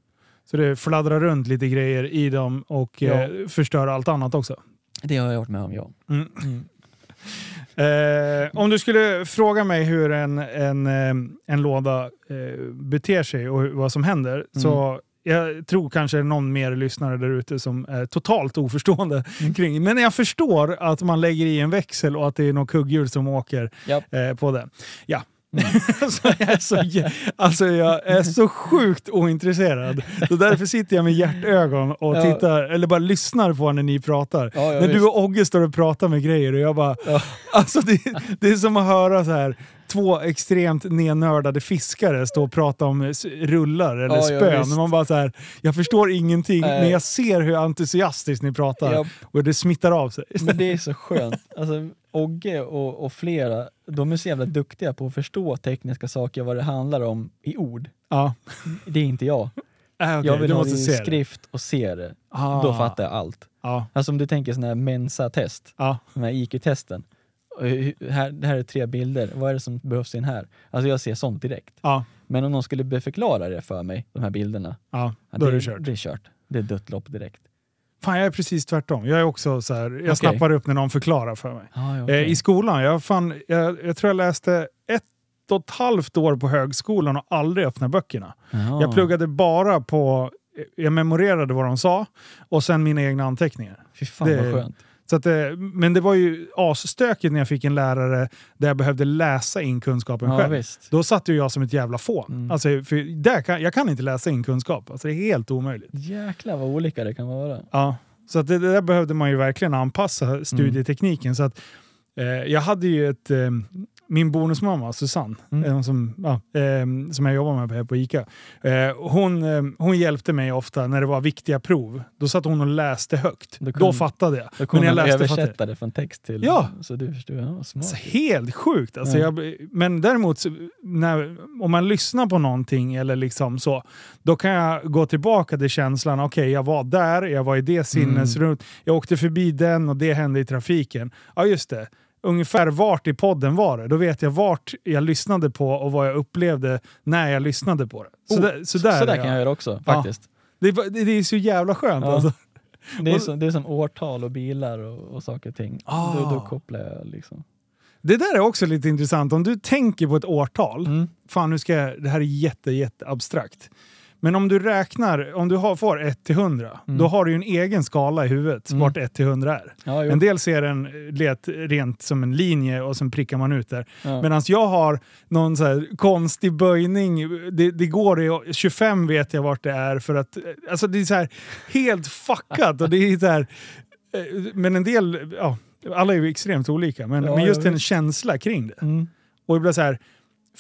A: Så det fladdrar runt lite grejer i dem och
B: Ja.
A: eh, förstör allt annat också.
B: Det har jag varit med om, ja.
A: Mm. Eh, om du skulle fråga mig hur en, en, eh, en låda eh, beter sig och hur- vad som händer,
B: Mm.
A: så jag tror kanske någon mer lyssnare där ute som är totalt oförstående
B: Mm.
A: kring. Men jag förstår att man lägger i en växel och att det är något kugghjul som åker
B: Japp. Mm.
A: eh, på den. Ja. så jag är så, jä- alltså jag är så sjukt ointresserad. Så därför sitter jag med hjärtögon och
B: Ja.
A: tittar, eller bara lyssnar på när ni pratar.
B: Ja,
A: När
B: ja, visst.
A: du och Ogge står och pratar med grejer och jag bara...
B: Ja.
A: Alltså det, det är som att höra så här två extremt nernördade fiskare stå och prata om s- rullar eller
B: Ja, ja,
A: spön.
B: visst.
A: man bara så här, jag förstår ingenting
B: Nej.
A: men jag ser hur entusiastiskt ni pratar
B: Ja.
A: och det smittar av sig.
B: Men det är så skönt. Alltså, Ogge och, och flera, de är så jävla duktiga på att förstå tekniska saker, vad det handlar om i ord.
A: Ja.
B: Det är inte jag.
A: Äh, okej,
B: jag vill
A: du
B: ha
A: måste
B: det
A: se
B: i
A: det.
B: skrift och se det.
A: Ah.
B: Då fattar jag allt.
A: Ja.
B: Alltså om du tänker sådana här Mensa-test,
A: Ja.
B: de här IQ-testen. Och hur- Här, det här är tre bilder, vad är det som behövs in här? Alltså jag ser sånt direkt.
A: Ja.
B: Men om någon skulle be- förklara det för mig, de här bilderna.
A: Ja.
B: ja,
A: Då är
B: det
A: det kört.
B: Det är kört. Det är dött lopp direkt.
A: Fan, jag är precis tvärtom. Jag är också så här, jag
B: Okej.
A: snappar upp när någon förklarar för mig.
B: Ah, ja,
A: Eh, I skolan, jag, fan, jag, jag tror jag läste ett och ett halvt år på högskolan och aldrig öppnade böckerna.
B: Ah.
A: Jag pluggade bara på, jag memorerade vad de sa och sen mina egna anteckningar.
B: Fy fan
A: det-
B: vad skönt.
A: Så att, eh, men det var ju asstökigt när jag fick en lärare där jag behövde läsa in kunskapen
B: Ja,
A: själv.
B: visst.
A: Då satt ju jag som ett jävla fån.
B: Mm.
A: Alltså, för där kan, jag kan inte läsa in kunskap. Alltså, det är helt omöjligt.
B: Jäklar vad olika det kan vara.
A: Ja, så att det, det där behövde man ju verkligen
B: Mm.
A: anpassa studietekniken. Så att, eh, jag hade ju ett, eh, min bonusmamma Susanne,
B: Mm.
A: eh, som, ja, eh, som jag jobbar med här på ICA, eh, hon, eh, hon hjälpte mig ofta när det var viktiga prov. Då satt hon och läste högt.
B: Då
A: Då,
B: kunde-
A: fattade jag.
B: Då kommer
A: jag
B: man
A: läste fattar
B: översätta det från text till...
A: Ja.
B: Så du förstår, ja, vad smart.
A: Alltså, helt sjukt! Alltså,
B: Ja.
A: jag, men däremot, så- när, om man lyssnar på någonting eller liksom så, då kan jag gå tillbaka till känslan, okej jag var där, jag var i
B: Mm.
A: det sinnesrummet, jag åkte förbi den och det hände i trafiken. Ja just det, ungefär vart i podden var det? Då vet jag vart jag lyssnade på och vad jag upplevde när jag lyssnade på det. Så
B: Oh,
A: där, så
B: Så-
A: där,
B: så där
A: är
B: kan jag göra också
A: Ja.
B: faktiskt.
A: Det, är bara- det, det är så jävla skönt
B: Ja.
A: alltså.
B: Det, är
A: Och-
B: som, det är som årtal och bilar och, och saker och ting.
A: Ah.
B: Då, då kopplar jag liksom.
A: Det där är också lite intressant. Om du tänker på ett årtal,
B: Mm.
A: fan nu ska jag, det här är jätte, jätte abstrakt. Men om du räknar, om du har, får 1 till 100,
B: Mm.
A: då har du ju en egen skala i huvudet
B: Mm.
A: vart 1 till 100 är.
B: Ja, jo.
A: En del ser den let, rent som en linje och sen prickar man ut där.
B: ja.
A: Medan jag har någon så här konstig böjning. Det, det går i 25 vet jag vart det är för att... Alltså det är så här helt fuckat och det är så här... eh, Men en del... Ja, alla är ju extremt olika, men,
B: Ja,
A: men just
B: ja,
A: en känsla kring det.
B: mm.
A: Och det blir så här,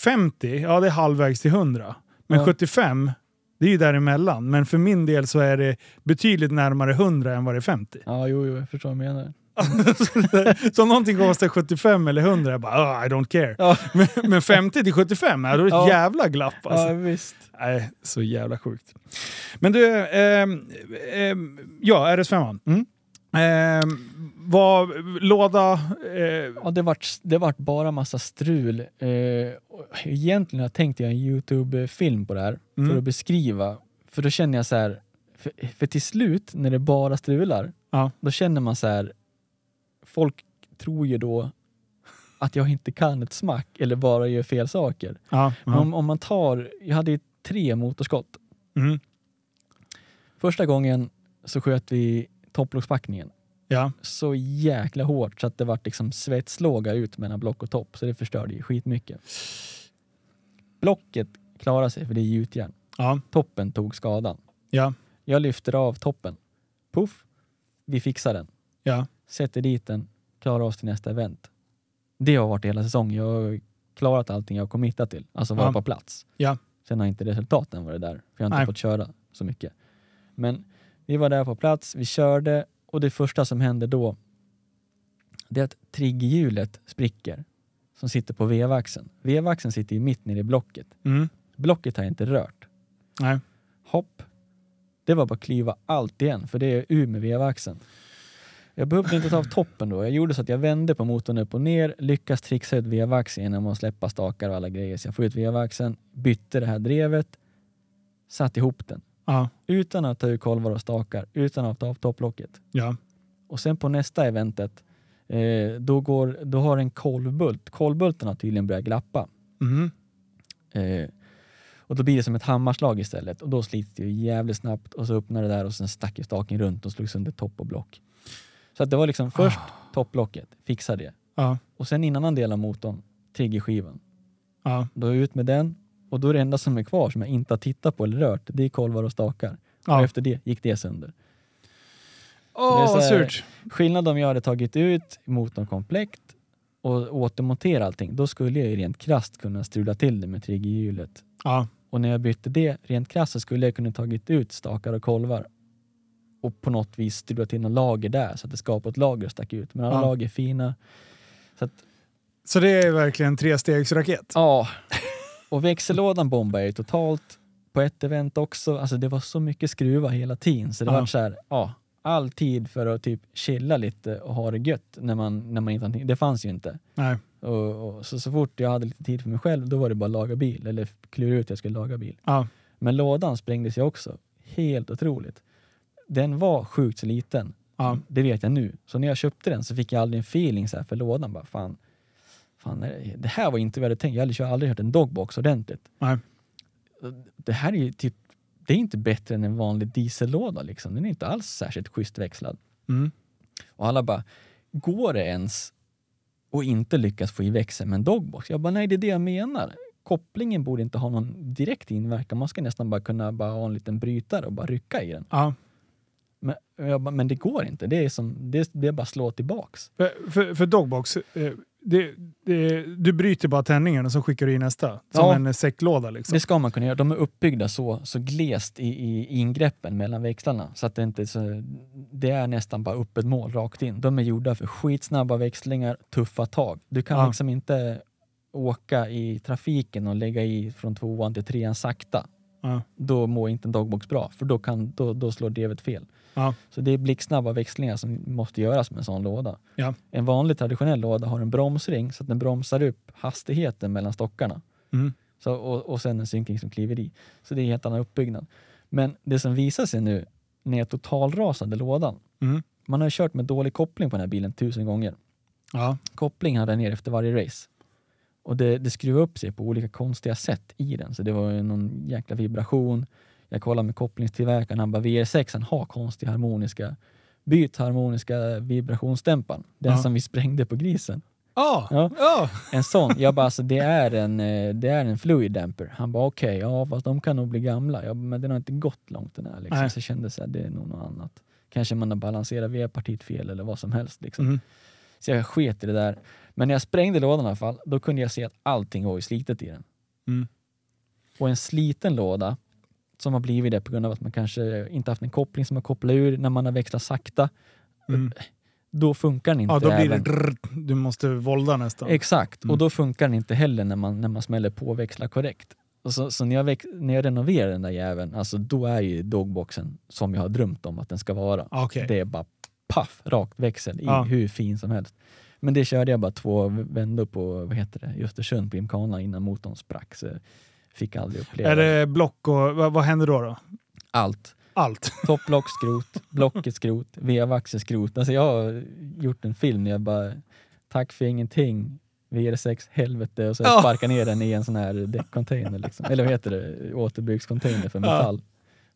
A: 50, ja det är halvvägs till 100. Men
B: Ja.
A: 75, det är ju däremellan. Men för min del så är det betydligt närmare 100 än vad det är 50.
B: ja, jo, jo, jag förstår vad du menar.
A: så om någonting kostar 75 eller 100, jag bara oh, I don't care.
B: Ja,
A: Men, men 50 till 75, ja, då är det ett
B: Ja.
A: jävla glapp alltså.
B: ja visst.
A: Nej, så jävla sjukt. Men du, ehm, ehm, ja, RS5.
B: Mm.
A: Ehm, vad, låda, eh,
B: Ja, det vart, det vart bara massa strul. Eh, och egentligen har jag tänkt göra en Youtube-film på det här
A: Mm.
B: för att beskriva. För då känner jag så här, för, för till slut när det bara strular,
A: Ja.
B: då känner man så här, folk tror ju då att jag inte kan ett smack eller bara gör fel saker.
A: ja,
B: Men
A: ja.
B: om, om man tar, jag hade ju tre motorskott.
A: Mm,
B: Första gången så sköt vi topplockspackningen
A: ja,
B: så jäkla hårt så att det vart liksom svetslåga ut mellan block och topp. Så det förstörde ju skitmycket. Blocket klarade sig för det är gjutjärn.
A: ja,
B: Toppen tog skadan.
A: ja,
B: Jag lyfter av toppen. Puff! Vi fixar den.
A: ja.
B: Sätter dit den. Klarar oss till nästa event. Det har varit hela säsongen. Jag klarat allting jag committat till, alltså vara
A: Ja.
B: på plats.
A: Ja.
B: Sen har inte resultaten varit där, för jag har inte
A: Nej.
B: fått köra så mycket. Men vi var där på plats, vi körde och det första som hände då, det är att triggerhjulet spricker som sitter på vevaxeln. Vevaxeln sitter ju mitt nere i blocket.
A: Mm.
B: Blocket har jag inte rört.
A: Nej.
B: Hopp. Det var bara att klyva allt igen, för det är ur med vevaxeln. Jag behövde inte ta av toppen då. Jag gjorde så att jag vände på motorn upp och ner, lyckas trixa ut vevaxeln genom att släppa stakar och alla grejer. Så jag får ut vevaxeln, bytte det här drevet, satte ihop den.
A: Ja.
B: Utan att ta ur kolvar och stakar, utan att ta av topplocket.
A: Ja.
B: Och sen på nästa eventet, eh, då, går, då har en kolvbult, kolvbulten har tydligen börjat glappa.
A: Mm.
B: Eh, och då blir det som ett hammarslag istället och då slits det ju jävligt snabbt och så öppnar det där och sen stack ju staken runt och slog sönder topp och block. Så att det var liksom först topplocket, fixa det.
A: Ja.
B: Och sen innan han delar motorn, triggerskivan.
A: Ja.
B: Då är jag ut med den och då är det enda som är kvar som jag inte har tittat på eller rört, det är kolvar och stakar. Och
A: Ja.
B: efter det gick det sönder.
A: Åh,
B: Det är så
A: vad
B: här-
A: surt.
B: Skillnad om jag hade tagit ut motorn komplett och återmonterat allting, då skulle jag ju rent krasst kunna strula till det med triggerhjulet.
A: Ja.
B: Och när jag bytte det, rent krasst, så skulle jag kunna tagit ut stakar och kolvar och på något vis strulat in en lager där så att det skapade ett lager och stack ut. Men alla
A: Ja.
B: lager är fina. Så att,
A: Så det är verkligen trestegsraket.
B: ja. Och växellådan bombade jag ju totalt på ett event också. Alltså det var så mycket skruva hela tiden så det
A: Ja.
B: var så här, ja, all tid för att typ chilla lite och ha det gött när man, när man inte hade- Det fanns ju inte.
A: Nej.
B: Och, och, så, så fort jag hade lite tid för mig själv, då var det bara att laga bil, eller klura ut att jag skulle laga bil.
A: Ja.
B: Men lådan sprängdes ju också. Helt otroligt. Den var sjukt så liten.
A: Ja.
B: Det vet jag nu. Så när jag köpte den så fick jag aldrig en feeling så här för lådan. Bara, fan, fan, det- det här var inte vad jag hade tänkt. Jag hade jag har aldrig hört en dogbox ordentligt.
A: Nej.
B: Det här är ju typ, det är inte bättre än en vanlig diesellåda liksom. Den är inte alls särskilt schysst växlad.
A: Mm.
B: Och alla bara, går det ens och inte lyckas få i växeln med en dogbox? Jag bara, nej det är det jag menar. Kopplingen borde inte ha någon direkt inverkan. Man ska nästan bara kunna bara ha en liten brytare och bara rycka i den.
A: Ja.
B: Men, jag bara, men det går inte. Det är, som, det, det är bara slå tillbaks.
A: För, för, för dogbox, eh, det, det, du bryter bara tändningen och så skickar du i nästa. Som
B: Ja.
A: en eh, säcklåda liksom.
B: Det ska man kunna göra. De är uppbyggda så, så glest i, i ingreppen mellan växlarna så att det inte är så, det är nästan bara öppet mål rakt in. De är gjorda för skitsnabba växlingar, tuffa tag. Du kan
A: Ja.
B: liksom inte åka i trafiken och lägga i från tvåan till trean sakta.
A: Ja.
B: Då mår inte en dogbox bra, för då, kan, då, då slår drevet fel.
A: Ja.
B: Så det är blixtsnabba växlingar som måste göras med en sån låda.
A: Ja.
B: En vanlig traditionell låda har en bromsring så att den bromsar upp hastigheten mellan stockarna.
A: Mm.
B: Så, och, och sen en synkring som kliver i. Så det är en helt annan uppbyggnad. Men det som visar sig nu när jag totalrasade lådan.
A: Mm.
B: Man har ju kört med dålig koppling på den här bilen tusen gånger.
A: Ja.
B: Koppling hade jag ner efter varje race. Och det, det skruvade upp sig på olika konstiga sätt i den. Så det var ju någon jäkla vibration. Jag kollade med kopplingstillverkaren, han bara VR6 han har konstiga harmoniska, byt harmoniska vibrationsdämparen. Den
A: Ja.
B: som vi sprängde på grisen.
A: Ja.
B: Ja.
A: Ja.
B: En sån. Jag bara, alltså det är en, eh, det är en fluid damper. Han bara, okej, ja fast de kan nog bli gamla. Jag bara, men den har inte gått långt den här liksom.
A: Nej.
B: Så jag kände så här, det är nog något annat. Kanske man har balanserat V-partiet fel eller vad som helst liksom.
A: Mm.
B: Så jag sket i det där. Men när jag sprängde lådan i alla fall, då kunde jag se att allting var ju slitet i den.
A: Mm.
B: Och en sliten låda, som har blivit det på grund av att man kanske inte haft en koppling som har kopplat ur när man har växlat sakta,
A: Mm.
B: då funkar den inte.
A: ja, då blir det
B: även-
A: drrrt. Du måste volda nästan.
B: Exakt,
A: Mm.
B: och då funkar den inte heller när man, när man smäller på och växlar korrekt. Och så så när, jag väx, när jag renoverar den där jäveln, alltså då är ju dogboxen som jag har drömt om att den ska vara.
A: Ja, Okej.
B: Det är bara paff, rakt växel, i
A: Ja.
B: hur fin som helst. Men det körde jag bara två vändor på, vad heter det, i Östersund på Gymkhana innan motorn sprack. Så jag fick aldrig uppleva
A: Är det block och vad, vad händer då? då?
B: allt.
A: Allt.
B: Topplock skrot, blocket skrot, vevaxel skrot. Alltså jag har gjort en film där jag bara, tack för ingenting, VR6, helvete och så
A: Ja.
B: sparkar ner den i en sån här däckcontainer. Liksom. Eller vad heter det? Återbrukscontainer för
A: Ja.
B: metall.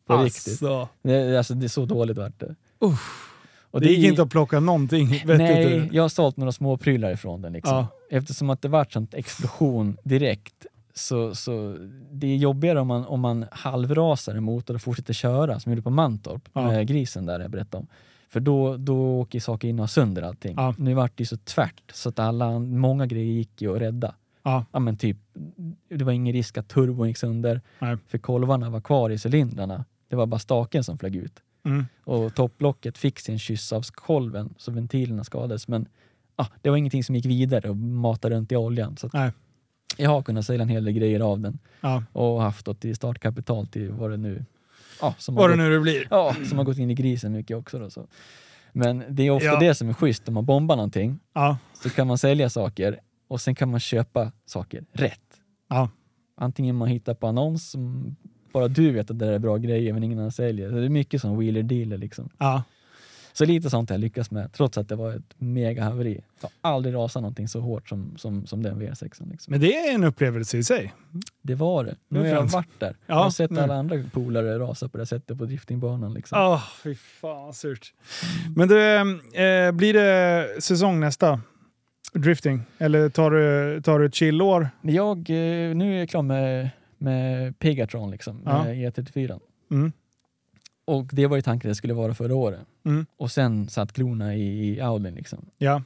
B: På riktigt.
A: Alltså.
B: Det, alltså det är så dåligt vart det. Och
A: Det gick inte att plocka någonting vettigt
B: Nej,
A: ur.
B: jag har sålt några små prylar ifrån den. Liksom.
A: Ja.
B: Eftersom att det vart sånt explosion direkt så, så det är jobbigare om man, om man halvrasar en motor och fortsätter köra som jag gjorde på Mantorp
A: Ja.
B: med grisen där jag berättade om. För då, då åker ju saker in och har sönder allting.
A: Ja.
B: Nu vart det ju så tvärt så att alla, många grejer gick ju att rädda.
A: Ja.
B: ja men typ, det var ingen risk att turbon gick sönder,
A: Nej.
B: för kolvarna var kvar i cylindrarna. Det var bara staken som flög ut.
A: Mm.
B: Och topplocket fick sin kyss av kolven, så ventilerna skadades. Men ja, det var ingenting som gick vidare och matade runt i oljan. Så att
A: Nej.
B: jag har kunnat sälja en hel del grejer av den
A: Ja.
B: och haft då till startkapital till vad det nu... Ja, som har
A: Vad det
B: gått-
A: nu det blir.
B: Ja, som har gått in i grisen mycket också. Då, så. Men det är ofta
A: Ja.
B: det som är schysst, om man bombar någonting
A: Ja.
B: så kan man sälja saker och sen kan man köpa saker rätt.
A: Ja.
B: Antingen man hittar på annons som bara du vet att det där är bra grejer men ingen annan säljer. Så det är mycket som wheeler dealer liksom.
A: Ja.
B: Så lite sånt har jag lyckats med trots att det var ett mega haveri. Jag har aldrig rasat någonting så hårt som, som, som den VR6. Liksom.
A: Men det är en upplevelse i sig.
B: Det var det.
A: Det
B: Nu har
A: är
B: jag
A: fränt.
B: varit där.
A: Ja,
B: jag har sett
A: nu.
B: alla andra polare rasa på det här sättet på driftingbanan. Liksom.
A: Ja, fy fan vad surt. Men du, eh, blir det säsong nästa? Drifting? Eller tar du, tar du ett chillår?
B: Men jag, eh, nu är jag klar med, med Pegatron, liksom,
A: Ja.
B: med E34.
A: Mm.
B: Och det var ju tanken att det skulle vara förra året.
A: Mm.
B: Och sen satt klorna i, i Audin liksom.
A: Ja.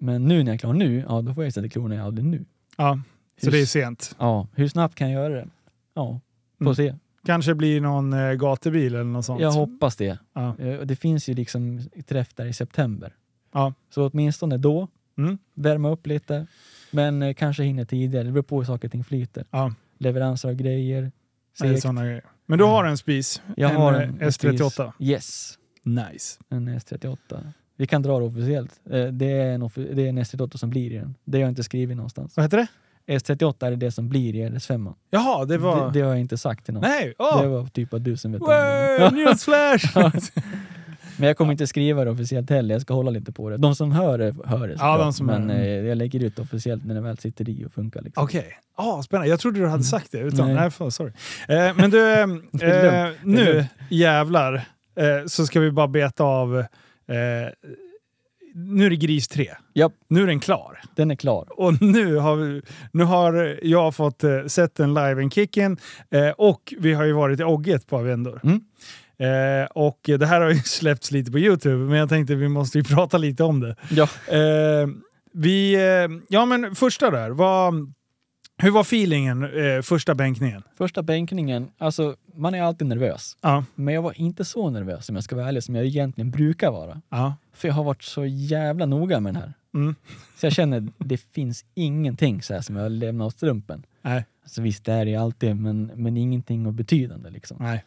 B: Men nu när jag är klar nu, ja då får jag ju sätta klorna i Audin nu.
A: ja. Så
B: Hur-
A: det är sent.
B: Ja, hur snabbt kan jag göra det? Ja, får
A: Mm.
B: se.
A: Kanske blir någon eh, gatubil eller något sånt.
B: Jag hoppas det.
A: Ja.
B: Eh, och Det finns ju liksom träff där i september.
A: Ja.
B: Så åtminstone då,
A: Mm.
B: värma upp lite. Men eh, kanske hinner tidigare, det beror på hur saker och ting flyter.
A: Ja.
B: Leveranser av grejer.
A: Det är
B: segt.
A: såna grejer. Men du har en spis?
B: Jag
A: en,
B: har
A: eh,
B: en
A: S38?
B: precis. Yes,
A: Nice.
B: en S38. Vi kan dra det officiellt. Eh, Det är en, offi- det är en S38 som blir i den. Det har jag inte skrivit någonstans.
A: Vad heter det?
B: S38 är det som blir i RS5.
A: Jaha, det var...
B: Det, det har jag inte sagt till någon.
A: Nej! åh.
B: Det var typ att du som vet om
A: Wow,
B: det.
A: newsflash!
B: Men jag kommer inte skriva det officiellt heller. Jag ska hålla lite på det. De som hör det, hör det. såklart.
A: de som hör
B: Men
A: det.
B: eh, jag lägger ut det officiellt när det väl sitter i och funkar. Liksom.
A: Okej. Ah, spännande. Jag trodde du hade sagt det. Utan, nej.
B: Mm. Nej.
A: fan, sorry. Eh, men du, eh,
B: Det är
A: eh, nu
B: lugnt.
A: jävlar eh, så ska vi bara beta av. Eh, nu är det gris 3.
B: Japp,
A: Nu är den klar.
B: den är klar.
A: Och nu har, vi, nu har jag fått eh, sett den live in Kicken eh, och vi har ju varit i Ogge ett par vändor.
B: Mm.
A: Eh, och det här har ju släppts lite på Youtube, men jag tänkte vi måste ju prata lite om det.
B: Ja.
A: Eh, vi, eh, ja men första där, vad, hur var feelingen eh, första bänkningen?
B: Första bänkningen, alltså man är alltid nervös.
A: Ja,
B: Men jag var inte så nervös om jag ska vara ärlig som jag egentligen brukar vara.
A: ja,
B: För jag har varit så jävla noga med den här.
A: Mm.
B: Så jag känner, det finns ingenting så här som jag lämnar åt strumpen.
A: nej,
B: Alltså visst, det är det ju alltid, men, men ingenting av betydande liksom.
A: nej.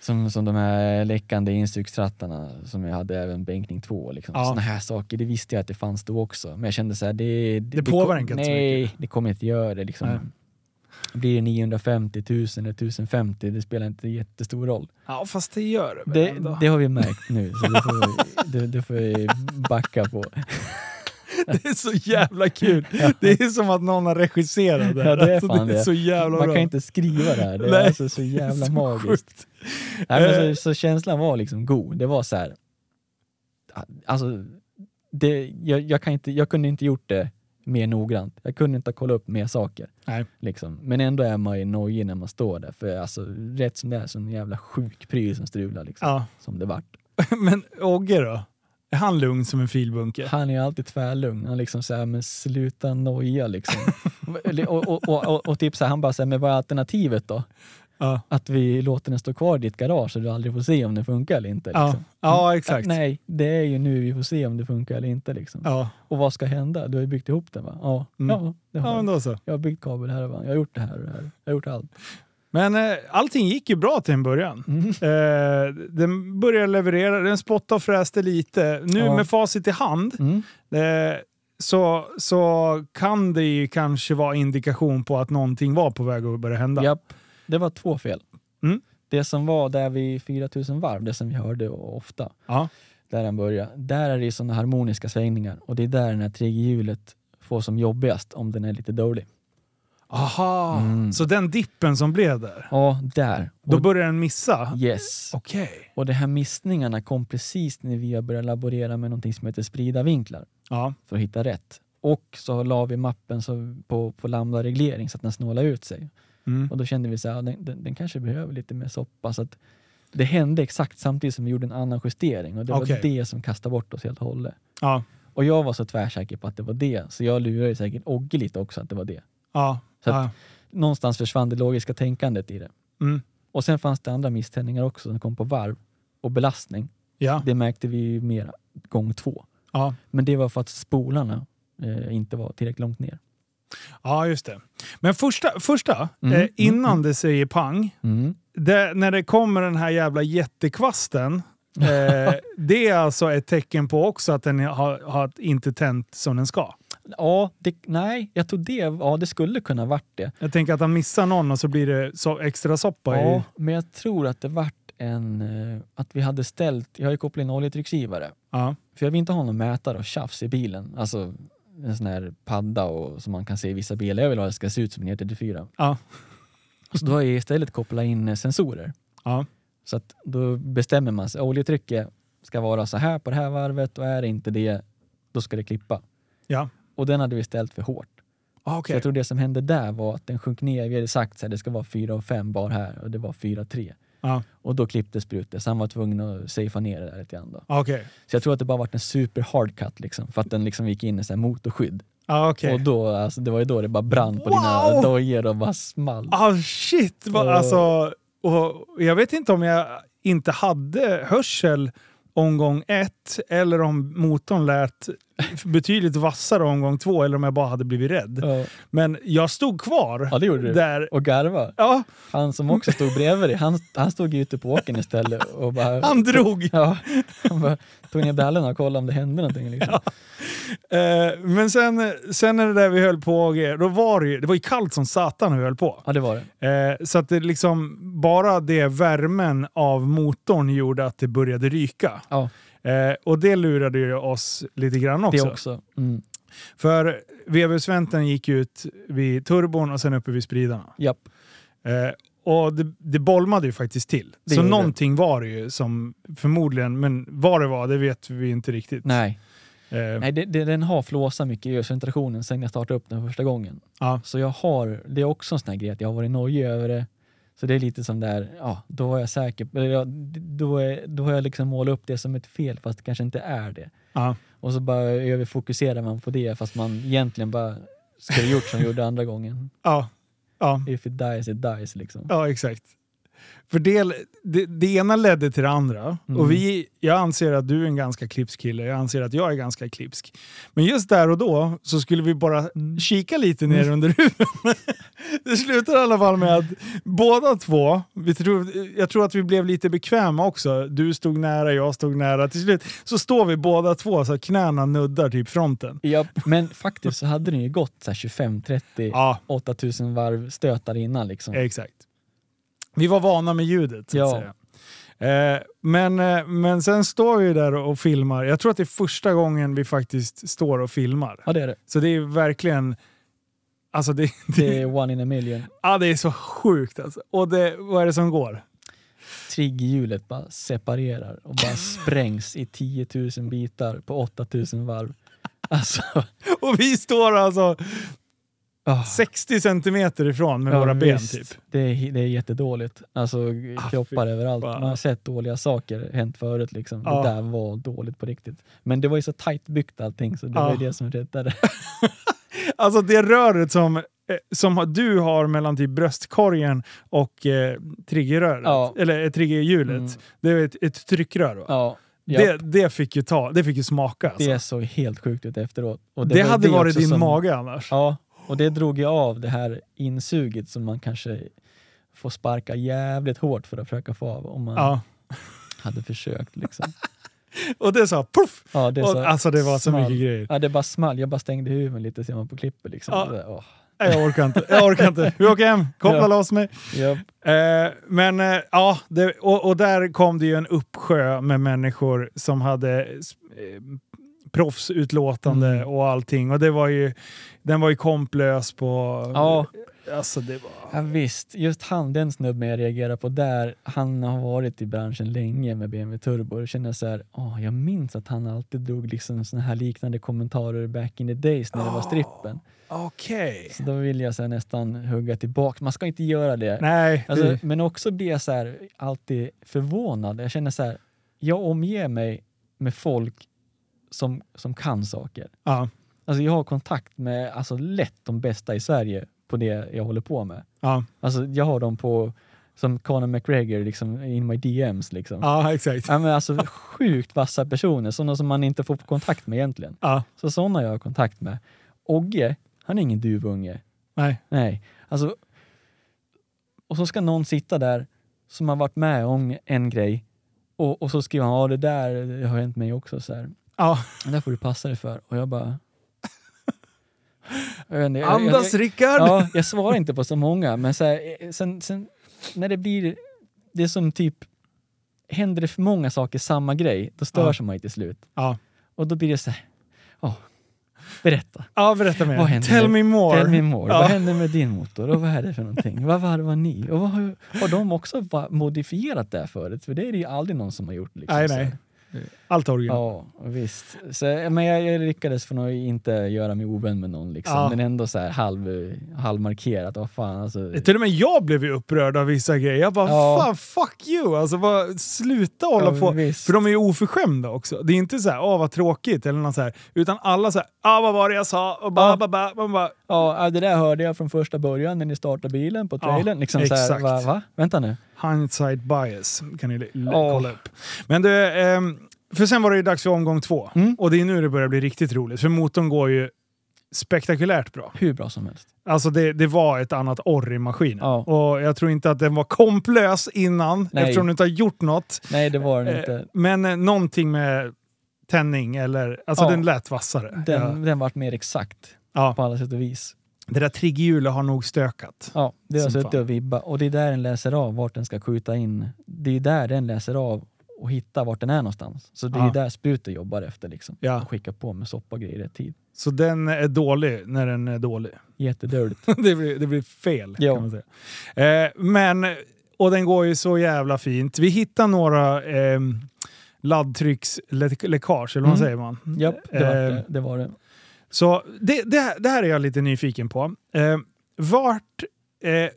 B: Som, som de här läckande instrukstrattarna som jag hade även bänkning 2. Liksom.
A: Ja.
B: Såna här saker, det visste jag att det fanns då också. Men jag kände så här, det... Det, kom-
A: påverkar inte så
B: Nej, det kommer inte göra det.
A: Nej.
B: Liksom. Blir det 950, 1000 eller 1050, det spelar inte jättestor roll.
A: Ja, fast det gör väl
B: Det,
A: ändå.
B: det har vi märkt nu, så det får, vi- det, det får vi backa på.
A: Det är så jävla kul. Det är som att någon har regisserat det. här. Alltså,
B: Ja, det är fan
A: det är
B: det.
A: så jävla
B: Man
A: bra.
B: kan inte skriva det här, det
A: Nej,
B: är alltså så
A: Det är
B: jävla
A: så
B: magiskt.
A: sjukt.
B: Nej,
A: Eh.
B: men så, så känslan var liksom god. Det var så här. Alltså, det, jag, jag, kan inte, jag kunde inte gjort det mer noggrant. Jag kunde inte ha kollat upp mer saker.
A: Nej.
B: Liksom. Men ändå är man ju nojig när man står där. För alltså, rätt som det är så är det en jävla sjuk pryl som strular. Liksom,
A: Ja.
B: Som det vart.
A: Men Ogge då? Är han lugn som en filbunke?
B: Han är ju alltid tvärlugn. Han liksom så här, men sluta noja liksom. Eller- och, och, och, och, och typ så här, han bara så här, men vad är alternativet då?
A: Ja,
B: Att vi låter den stå kvar i ditt garage så du aldrig får se om den funkar eller inte. Liksom.
A: ja. ja exakt.
B: Ja, nej, det är ju nu vi får se om det funkar eller inte. Liksom.
A: Ja.
B: Och vad ska hända? Du har ju byggt ihop den va? Ja,
A: Mm.
B: ja det har
A: ja, men
B: jag.
A: då så.
B: Jag har byggt kabel här va? Jag har gjort det här och det här. Jag har gjort allt.
A: Men eh, allting gick ju bra till en början.
B: Mm.
A: Eh, den började leverera, den spottade och fräste lite. Nu
B: Ja.
A: med facit i hand
B: Mm.
A: eh, så, så kan det ju kanske vara indikation på att någonting var på väg att börja hända.
B: Japp. Det var två fel.
A: Mm.
B: Det som var där vid 4000 varv, det som vi hörde ofta,
A: Ja.
B: där den börjar, där är det ju sådana harmoniska svängningar och det är där den här triggerhjulet får som jobbigast om den är lite dålig.
A: Aha,
B: Mm.
A: så den dippen som blev där,
B: Ja, där.
A: då
B: Och-
A: började den missa?
B: yes.
A: Okej.
B: Och de här missningarna kom precis när vi har börjat laborera med någonting som heter sprida vinklar.
A: Ja.
B: för att hitta rätt. Och så la vi mappen så på, på lambda reglering så att den snålade ut sig.
A: Mm.
B: Och då kände vi så här, den, den, den kanske behöver lite mer soppa. Så att det hände exakt samtidigt som vi gjorde en annan justering och det
A: Okej.
B: var det som kastade bort oss helt och hållet.
A: Ja.
B: Och jag var så tvärsäker på att det var det, så jag lurade ju säkert Ogge lite också att det var det.
A: Ja.
B: Så
A: ja.
B: att- Någonstans försvann det logiska tänkandet i det.
A: Mm.
B: Och sen fanns det andra misständningar också som kom på varv och belastning.
A: Ja.
B: Det märkte vi ju mer gång två.
A: Ja.
B: Men det var för att spolarna eh, inte var tillräckligt långt ner.
A: ja, just det. Men första, första
B: Mm,
A: eh,
B: mm,
A: innan det säger pang, det, när det kommer den här jävla jättekvasten, eh, det är alltså ett tecken på också att den har, har inte tänt som den ska.
B: Ja, det, nej, jag tror det, ja, det skulle kunna varit det.
A: Jag tänker att han missar någon och så blir det so extra soppa
B: Ja,
A: i...
B: men jag tror att det vart en... eh, Att vi hade ställt... Jag har ju kopplat in oljetrycksgivare.
A: Ja.
B: För jag vill inte ha någon mätare och tjafs i bilen. Alltså en sån här padda och, som man kan se i vissa bilar. Jag vill ha det ska se ut som en E34.
A: Ja.
B: Så då har jag istället kopplat in eh, sensorer.
A: Ja.
B: Så att då bestämmer man sig. Oljetrycket ska vara så här på det här varvet och är det inte det, då ska det klippa.
A: Ja.
B: Och den hade vi ställt för hårt.
A: Ah,
B: Så
A: okej.
B: jag tror det som hände där var att den sjönk ner. Vi hade sagt att det ska vara 4 och 5 bar här och det var 4 3.
A: Ja.
B: Och då klipptes sprutet så han var tvungen att safea ner det där lite grann. Då.
A: Ah, Okej.
B: Så jag tror att det bara varit en super hard cut liksom, för att den liksom gick in i så här motorskydd.
A: Ah, okej.
B: Och då, alltså, det var ju då det bara brann på
A: Wow!
B: dina dojor och bara small.
A: Ah shit! Vad,
B: Och-
A: Alltså, och jag vet inte om jag inte hade hörsel omgång ett eller om motorn lät betydligt vassare omgång två eller om jag bara hade blivit rädd.
B: Ja.
A: Men jag stod kvar
B: Ja, det gjorde du.
A: där.
B: Och garva.
A: Ja,
B: Han som också stod bredvid dig, han, han stod ju ute på åkern istället och bara...
A: han drog.
B: Ja, han bara tog ner brallorna och kollade om det hände någonting. Liksom.
A: Eh, men sen, sen när det där vi höll på, då var det ju, det var ju kallt som satan när vi höll på.
B: Ja, det var det.
A: Eh, så att det liksom, bara det värmen av motorn gjorde att det började ryka.
B: Ja,
A: Eh, och det lurade ju oss lite grann också.
B: det också. Mm.
A: För vevhusvänten gick ut vid turbon och sen uppe vid spridarna.
B: Japp.
A: Eh, och det, det bolmade ju faktiskt till.
B: Det
A: så
B: gjorde det.
A: någonting var det ju som förmodligen, men vad det var det vet vi inte riktigt.
B: Nej,
A: Eh,
B: Nej det, det, den har flåsat mycket i ventilationen sen jag startade upp den första gången.
A: Ja.
B: Så jag har, det är också en sån här grej att jag har varit nojig över det. Så det är lite som där, ja, då var jag säker, eller jag, då, är, då har jag liksom målat upp det som ett fel fast det kanske inte är det.
A: ja.
B: Och så bara överfokuserar man på det fast man egentligen bara skulle gjort som jag gjorde andra gången.
A: Ja, ja,
B: If it dies, it dies liksom.
A: ja, exakt. För det, det, det ena ledde till det andra.
B: Mm.
A: Och vi, jag anser att du är en ganska klipsk kille, jag anser att jag är ganska klipsk. Men just där och då så skulle vi bara
B: Mm.
A: kika lite ner under huven. Det slutar i alla fall med att båda två, vi tror, jag tror att vi blev lite bekväma också. Du stod nära, jag stod nära. Till slut så står vi båda två så att knäna nuddar typ fronten.
B: Japp. Men faktiskt så hade den ju gått så här 25-30,
A: Ja, Eh.
B: 8000 varv stötar innan liksom.
A: exakt. Vi var vana med ljudet så att
B: Ja.
A: säga. Eh, men, eh, men sen står vi där och filmar. Jag tror att det är första gången vi faktiskt står och filmar.
B: Ja det är det.
A: Så det är verkligen... Alltså det, det,
B: Det är one in a million.
A: ja, det är så sjukt alltså. Och det, vad är det som går?
B: triggerhjulet bara separerar och bara sprängs i 10 000 bitar på 8 000 varv. Alltså,
A: Och vi står alltså
B: ah,
A: 60 centimeter ifrån med
B: ja,
A: våra ben
B: visst.
A: typ.
B: Det är, det är jättedåligt. Alltså
A: Ah,
B: kroppar överallt.
A: fan. Ah.
B: Man har sett dåliga saker hänt förut liksom.
A: Ja.
B: Det där var dåligt på riktigt. Men det var ju så tajt byggt allting så det var ju
A: Ja.
B: det som räddade.
A: Alltså det röret som, eh, som har- du har mellan typ bröstkorgen och eh, triggerröret,
B: Ja.
A: eller eh, triggerhjulet,
B: Mm.
A: det är ett, ett tryckrör va?
B: Ja, ja.
A: Det,
B: Det,
A: det fick ju ta, det fick ju smaka alltså. Det,
B: såg helt sjukt ut efteråt. Och var
A: hade varit
B: också
A: din
B: som-
A: mage annars.
B: Ja, och det drog ju av det här insuget som man kanske får sparka jävligt hårt för att försöka få av om man
A: Ja.
B: hade försökt. Liksom.
A: Och det sa poff!
B: Ja, det
A: Och,
B: så
A: alltså det var så
B: small.
A: mycket grejer.
B: Ja, det bara small. Jag bara stängde huven lite ser man på klippet. Liksom.
A: Ja.
B: Så där, åh.
A: Nej, Jag orkar inte, jag orkar inte. Vi åker hem, koppla
B: Ja.
A: loss mig.
B: Japp.
A: Eh, men eh, ja, det, och, och där kom det ju en uppsjö med människor som hade eh, proffsutlåtande
B: Mm.
A: och allting. Och det var ju, den var ju komplös på...
B: Ja,
A: Alltså det var...
B: ja, visst. Just han, den snubben jag reagerar på där, han har varit i branschen länge med BMW Turbo. Då känner jag så här, åh, jag minns att han alltid drog liksom såna här liknande kommentarer back in the days när det var strippen.
A: Okej.
B: Så då vill jag så här, nästan hugga tillbaka. Man ska inte göra det.
A: Nej.
B: Alltså,
A: det,
B: men också blir jag så här, alltid förvånad. Jag känner så här, jag omger mig med folk som, som kan saker.
A: Ja.
B: Alltså jag har kontakt med alltså, lätt de bästa i Sverige på det jag håller på med.
A: Ja.
B: Alltså jag har dem på, som Conor McGregor, liksom, in my DMs. Liksom.
A: ja, exakt.
B: Ja, men alltså sjukt vassa personer, sådana som man inte får kontakt med egentligen.
A: Ja,
B: Så sådana jag har kontakt med. Ogge, han är ingen duvunge.
A: nej.
B: Nej, alltså. Och så ska någon sitta där som har varit med om en grej och, och så skriver han, ja det där det har hänt mig också. Så här.
A: Ja.
B: Det där får du passa dig för. Och jag bara... Jag vet inte, jag-
A: Andas
B: jag,
A: Rickard!
B: jag, ja, jag svarar inte på så många, men så här, eh, sen, sen när det blir... Det är som typ... Händer det för många saker, samma grej, då störs man ju till slut.
A: Ja.
B: Och då blir det så här... åh, berätta.
A: ja, berätta
B: Vad
A: mer.
B: händer
A: Tell me
B: nu?
A: more.
B: Tell me more.
A: Ja.
B: Vad hände med din motor och vad är det för någonting? Vad varvar ni? Och vad har, har de också va- modifierat det här förut? För det är det ju aldrig någon som har gjort. Liksom,
A: Nej,
B: så här.
A: nej. Allt original.
B: Ja, visst. Så, men jag, jag lyckades för nog inte göra mig ovän med någon, liksom.
A: Ja.
B: men ändå så här halv, halvmarkerat. Vad fan, alltså.
A: Till och med jag blev ju upprörd av vissa grejer. Jag bara
B: Ja.
A: fan, fuck you! Alltså bara, sluta hålla
B: Ja,
A: på.
B: visst.
A: För de är ju oförskämda också. Det är inte så här, åh vad tråkigt eller något så här. Utan alla så här, ah vad var det jag sa? Och ba,
B: Ja.
A: ba, ba. Man bara,
B: Ja, det där hörde jag från första början när ni startade bilen på
A: Ja,
B: trailern. liksom så här,
A: exakt.
B: va, va? Vänta nu.
A: hindsight bias kan ni l- l-
B: Ja.
A: kolla upp. Men du, ehm, för sen var det ju dags för omgång två.
B: Mm.
A: Och det är nu det börjar bli riktigt roligt. För motorn går ju spektakulärt bra.
B: Hur bra som helst.
A: Alltså det, det var ett annat orr i maskinen.
B: Ja.
A: Och jag tror inte att den var komplös innan
B: Nej.
A: eftersom du inte har gjort något.
B: Nej, det var den
A: Eh,
B: inte.
A: Men eh, någonting med tändning eller... Alltså
B: Ja.
A: den lät vassare.
B: Den,
A: Ja.
B: den vart mer exakt på
A: Ja.
B: alla sätt och vis.
A: Det där triggerhjulet har nog stökat.
B: Ja, det har
A: Som
B: suttit
A: fan.
B: och vibbat och det är där den läser av vart den ska skjuta in. Det är där den läser av och hittar vart den är någonstans. Så det är
A: Ja.
B: där sprutet jobbar efter liksom.
A: Ja.
B: Och skickar på med soppa och grejer i rätt tid.
A: Så den är dålig när den är dålig.
B: Jättedåligt.
A: det, blir, det blir fel.
B: Ja.
A: Kan man säga. Eh, men, och den går ju så jävla fint. Vi hittar några eh, laddtrycksläckage, eller vad
B: Mm.
A: säger man?
B: Japp, det var
A: Eh,
B: det. det, var det.
A: Så det, det, här- det här är jag lite nyfiken på. Eh, vart... Eh,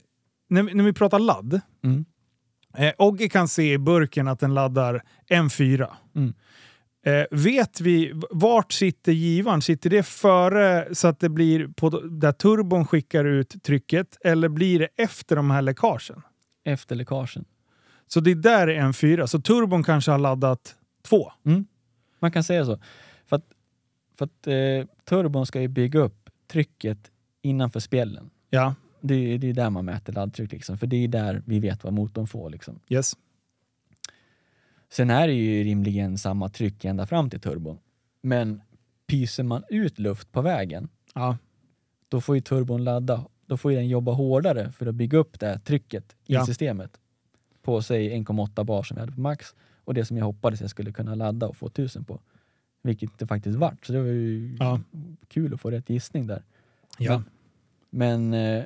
A: när, vi- när vi pratar ladd.
B: Mm.
A: Eh, Ogge kan se i burken att den laddar M4.
B: Mm.
A: Eh, vet vi v- vart sitter givaren? Sitter det före så att det blir på d- där turbon skickar ut trycket eller blir det efter de här läckagen?
B: Efter läckagen.
A: Så det är där är M4. Så turbon kanske har laddat två.
B: Man kan säga så. För att, för att eh, turbon ska ju bygga upp trycket innanför spjällen.
A: Ja,
B: Det, är- det är där man mäter laddtryck liksom. För det är där vi vet vad motorn får liksom.
A: yes.
B: Sen är det ju rimligen samma tryck ända fram till turbon. Men pyser man ut luft på vägen,
A: Ja,
B: då får ju turbon ladda. Då får ju den jobba hårdare för att bygga upp det här trycket i
A: Ja.
B: systemet. På säg 1,8 bar som jag hade på max och det som jag hoppades jag skulle kunna ladda och få 1000 på. Vilket det faktiskt vart, så det var ju
A: Ja.
B: kul att få rätt gissning där.
A: ja.
B: Men eh,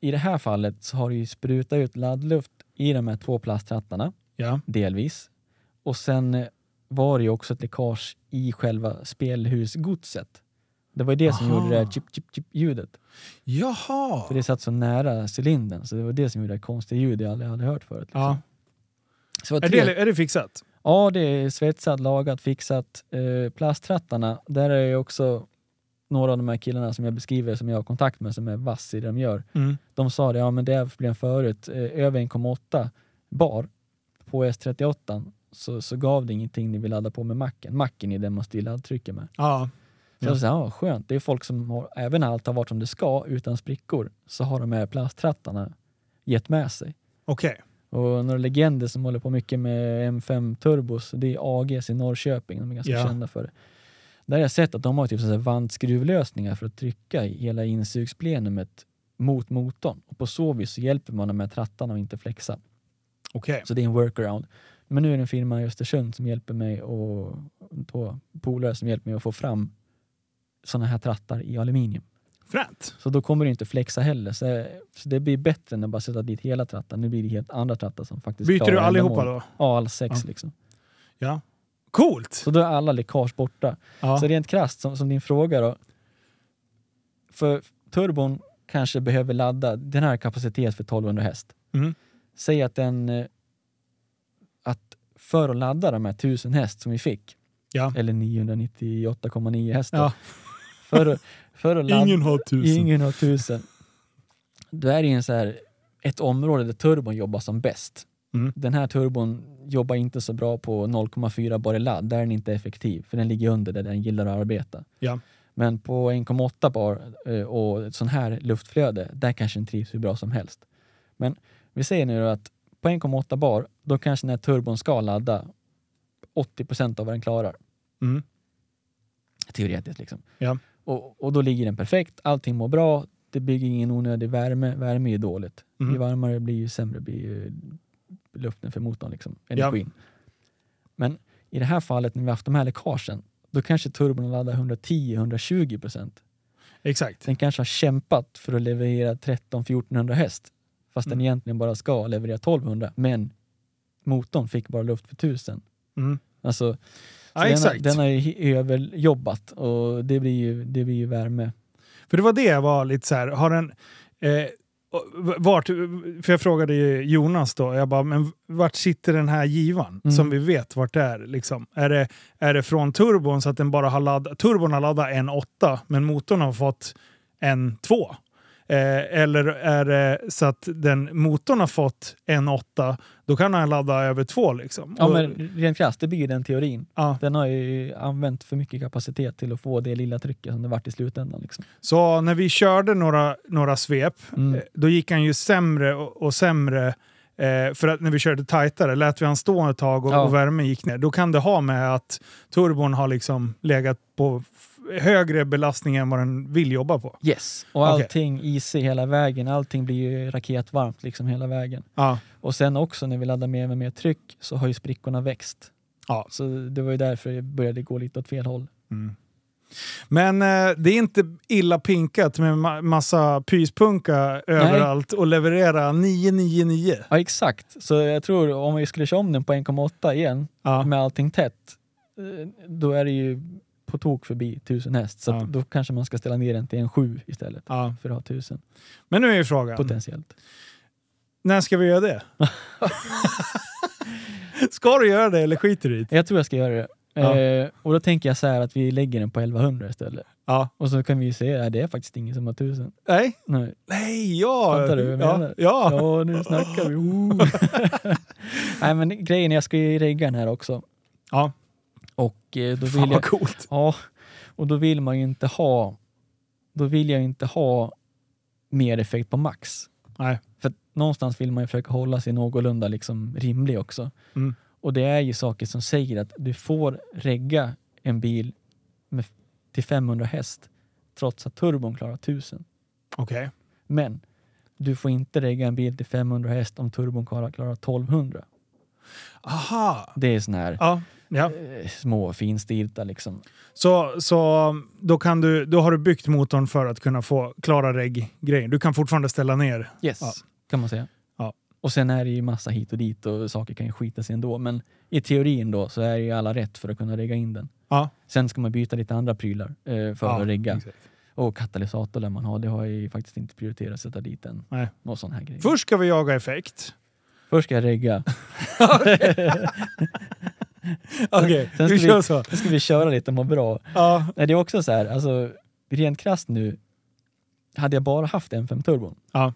B: i det här fallet så har det ju sprutat ut laddluft i de här två plastrattarna
A: ja.
B: delvis. Och sen eh, var det ju också ett läckage i själva spelhusgodset. Det var ju det som
A: Aha.
B: gjorde det här chip, chip, chip ljudet.
A: Jaha!
B: För det satt så nära cylindern, så det var det som gjorde det här konstiga ljudet jag aldrig hade hört förut. Liksom.
A: Ja.
B: Så det var
A: Är,
B: tre...
A: det, är det fixat?
B: Ja, det är svetsat, lagat, fixat. Eh, plastrattarna, där är ju också några av de här killarna som jag beskriver, som jag har kontakt med, som är vass i det de gör.
A: Mm.
B: De sa det, ja men det är problem förut, eh, över 1,8 bar på S38 så, så gav det ingenting när vi laddade på med macken. Macken är den man styr laddtrycket med.
A: Ja.
B: Så
A: Ja.
B: jag sa, ja skönt, det är folk som har, även när allt har varit som det ska utan sprickor, så har de här plastrattarna gett med sig.
A: Okej.
B: Och några legender som håller på mycket med M5 turbos, det är AGs i Norrköping, de är ganska
A: Ja.
B: kända för det. Där har jag sett att de har typ sådana här vantskruvlösningar för att trycka i hela insugsplenumet mot motorn. Och på så vis så hjälper man dem med trattarna att inte flexa.
A: Okej.
B: Så det är en workaround. Men nu är det en firma i Östersund som hjälper mig och då polare som hjälper mig att få fram sådana här trattar i aluminium.
A: Fränt.
B: Så då kommer det inte flexa heller. Så, så det blir bättre än att bara sätta dit hela trattar. Nu blir det helt andra trattar som faktiskt
A: Byter
B: klarar
A: du allihopa
B: ändamål.
A: då?
B: Ja, alla sex liksom.
A: Ja. Coolt!
B: Så då är alla läckage borta.
A: Ja.
B: Så rent krasst, som, som din fråga då. För turbon kanske behöver ladda, den här kapacitet för 1200 häst.
A: Mm.
B: Säg att den, eh, att för att ladda de här 1000 häst som vi fick,
A: Ja.
B: Eller 998,9 hästar.
A: Ja.
B: För, för att ladda,
A: Ingen har tusen.
B: ingen har 1000. Då är det ju en så här, ett område där turbon jobbar som bäst.
A: Mm.
B: Den här turbon jobbar inte så bra på 0,4 bar i ladd. Där är den inte effektiv, för den ligger under där den gillar att arbeta.
A: Ja.
B: Men på 1,8 bar eh, och ett sån här luftflöde, där kanske den trivs hur bra som helst. Men vi säger nu då att på 1,8 bar, då kanske den här turbon ska ladda 80 av vad den klarar.
A: Mm.
B: Teoretiskt liksom.
A: Ja.
B: Och, och då ligger den perfekt, allting mår bra, det bygger ingen onödig värme. Värme är ju dåligt.
A: Mm.
B: Ju varmare det blir, ju sämre blir ju luften för motorn, liksom, energin. Men i det här fallet, när vi haft de här läckagen, då kanske turbon laddar 110-120 procent.
A: Exakt.
B: Den kanske har kämpat för att leverera 13-1400 häst, fast den
A: Mm.
B: egentligen bara ska leverera 1200, men motorn fick bara luft för 1000.
A: Mm.
B: Alltså, så
A: Ja,
B: den,
A: exakt.
B: Har, den har ju he- överjobbat och det blir ju, det blir ju värme.
A: För det var det jag var lite så här, har den... Eh, vart, för jag frågade ju Jonas då, jag bara, men vart sitter den här givan
B: Mm.
A: som vi vet vart det är? Liksom? Är, det, är det från turbon så att den bara har laddat, turbon har laddat en åtta men motorn har fått en två? Eh, eller är det så att den motorn har fått en åtta då kan han ladda över två liksom.
B: Ja,
A: Och-
B: men rent krasst, det blir ju den teorin.
A: ja.
B: Den har ju använt för mycket kapacitet till att få det lilla trycket som det vart i slutändan. Liksom.
A: Så när vi körde några, några svep,
B: Mm.
A: eh, då gick han ju sämre och, och sämre. Eh, för att när vi körde tajtare, lät vi han stå ett tag och,
B: Ja.
A: och värmen gick ner. Då kan det ha med att turbon har liksom legat på f- högre belastning än vad den vill jobba på.
B: Yes. Och
A: Okej.
B: allting is i hela vägen, allting blir ju raketvarmt liksom hela vägen.
A: Ja,
B: Och sen också när vi laddar mer med mer tryck så har ju sprickorna växt.
A: Ja.
B: Så det var ju därför det började gå lite åt fel håll.
A: Mm. Men eh, det är inte illa pinkat med ma- massa pyspunka överallt och leverera 999.
B: Ja exakt, så jag tror om vi skulle köra om den på 1,8 igen
A: Ja.
B: med allting tätt, eh, då är det ju på tok förbi 1000 häst. Så
A: Ja.
B: att då kanske man ska ställa ner den till en 7 istället
A: Ja.
B: för att ha 1000
A: Men nu är ju frågan,
B: potentiellt.
A: när ska vi göra det? ska du göra det eller skiter du i det?
B: Jag tror jag ska göra det.
A: Ja.
B: Eh, och då tänker jag så här att vi lägger den på 1100 istället.
A: Ja.
B: Och så kan vi ju säga att det är faktiskt ingen som har 1000.
A: Nej,
B: Nej.
A: Nej, ja!
B: Fattar du vad jag
A: ja,
B: menar?
A: Ja.
B: Ja, nu snackar vi. Oh. Nej, men grejen är jag ska ju regga den här också.
A: Ja.
B: Och eh, då
A: Fan
B: vill
A: vad
B: jag...
A: coolt.
B: Ja, och då vill man ju inte ha... Då vill jag inte ha mer effekt på max.
A: Nej.
B: För att någonstans vill man ju försöka hålla sig någorlunda liksom rimlig också.
A: Mm.
B: Och det är ju saker som säger att du får regga en bil med, till 500 häst trots att turbon klarar 1000.
A: Okej.
B: Men du får inte regga en bil till 500 häst om turbon klarar klarar 1200.
A: Aha!
B: Det är sån här
A: Ja. ja.
B: eh, små finstilta liksom.
A: Så, så um, då, kan du, då har du byggt motorn för att kunna få klara regg-grejen. Du kan fortfarande ställa ner.
B: Yes.
A: Ja.
B: Kan man säga.
A: Ja.
B: Och sen är det ju massa hit och dit och saker kan ju skita sig ändå. Men i teorin då så är ju alla rätt för att kunna regga in den.
A: Ja.
B: Sen ska man byta lite andra prylar eh, för
A: ja,
B: att regga.
A: exakt.
B: Och katalysator lär man ha. Det har jag ju faktiskt inte prioriterat att sätta dit än.
A: Nej.
B: Någon sån här grej.
A: Först ska vi jaga effekt.
B: Först ska jag regga.
A: Okej,
B: Sen
A: vi
B: ska
A: kör
B: vi-
A: så.
B: Sen ska vi köra lite och må bra.
A: Ja.
B: Nej, det är också så här, alltså rent krasst nu. Hade jag bara haft M5 turbon.
A: Ja.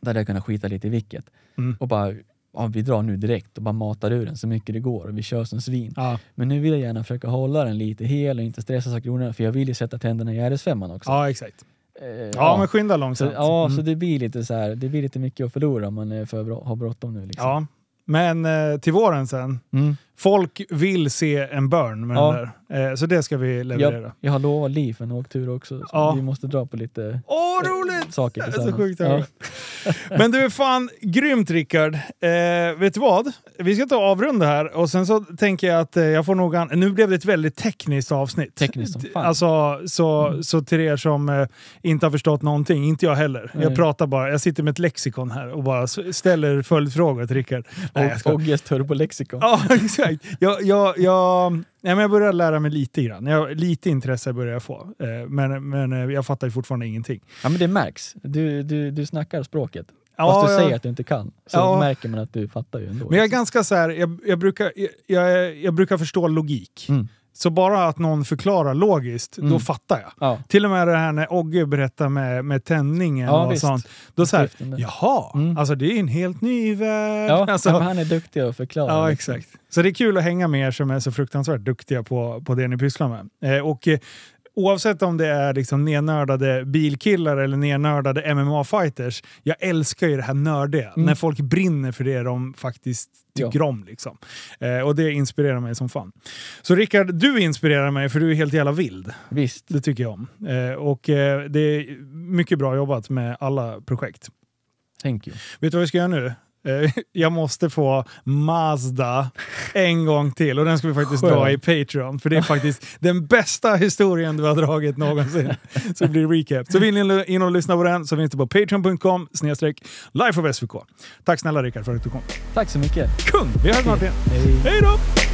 B: Då hade jag kunnat skita lite i vilket.
A: Mm.
B: Och bara, ja, vi drar nu direkt och bara matar ur den så mycket det går och vi kör som svin.
A: Ja.
B: Men nu vill jag gärna försöka hålla den lite hel och inte stressa saker i onödan, för jag vill ju sätta tänderna i RS5 också.
A: ja, exakt.
B: Eh,
A: Ja, men skynda
B: så,
A: långsamt.
B: ja
A: Mm.
B: så det blir lite så här, det blir lite mycket att förlora om man är för bra, har bråttom nu. Liksom.
A: ja. Men eh, till våren sen.
B: Mm.
A: Folk vill se en burn med
B: Ja.
A: den där. Eh, så det ska vi leverera.
B: Jag, jag har lovat Liv en åktur också, så
A: Ja.
B: vi måste dra på lite
A: Åh,
B: eh,
A: roligt!
B: saker
A: Det är så
B: tillsammans.
A: sjukt att
B: ja.
A: höra. Men du, fan grymt Rickard. Eh, vet du vad? Vi ska ta och avrunda här och sen så tänker jag att eh, jag får nog... an- Nu blev det ett väldigt tekniskt avsnitt.
B: Tekniskt som fan. Mm.
A: Alltså, så, så till er som eh, inte har förstått någonting, inte jag heller. Jag
B: Nej.
A: pratar bara, jag sitter med ett lexikon här och bara s- ställer följdfrågor till Rickard. Nej, jag
B: Och,
A: skojar.
B: Ogges turbolexikon.
A: Ja, exakt. Jag, jag, jag, nej, men jag börjar lära mig lite grann. Jag, lite intresse börjar jag få. Eh, men men eh, jag fattar ju fortfarande ingenting.
B: Ja, men det märks. Du, du, du snackar språket.
A: Ja,
B: Fast du
A: jag-
B: säger att du inte kan, så
A: Ja.
B: märker man att du fattar ju ändå.
A: Men jag är
B: liksom.
A: ganska så här, jag, jag, brukar, jag, jag, jag brukar förstå logik.
B: Mm.
A: Så bara att någon förklarar logiskt,
B: Mm.
A: då fattar jag.
B: Ja.
A: Till och med det här när Ogge berättar med, med tändningen
B: Ja,
A: och
B: visst.
A: sånt. Då säger
B: Skriften där.
A: jaha,
B: Mm.
A: alltså det är en helt ny värld.
B: Ja,
A: alltså,
B: men han är duktig att förklara.
A: Ja,
B: liksom.
A: exakt. Så det är kul att hänga med er som är så fruktansvärt duktiga på, på det ni pysslar med. Eh, och eh, oavsett om det är liksom nernördade bilkillar eller nernördade MMA-fighters, jag älskar ju det här nördiga.
B: Mm.
A: När folk brinner för det de faktiskt tycker om. Liksom. Eh, och det inspirerar mig som fan. Så Rickard, du inspirerar mig för du är helt jävla vild.
B: Visst.
A: Det tycker jag om. Eh, och eh, det är mycket bra jobbat med alla projekt.
B: Thank you.
A: Vet du vad vi ska göra nu? Eh, Jag måste få Mazda en gång till och den ska vi faktiskt
B: Skönt.
A: dra i Patreon. För det är faktiskt den bästa historien du har dragit någonsin. Så det blir recap. Så vill ni in och lyssna på den så finns det på patreon.com snedstreck life of SVK. Tack snälla Rickard för att du kom.
B: Tack så mycket.
A: Kung! Vi hörs snart igen.
B: Hej.
A: Hej då!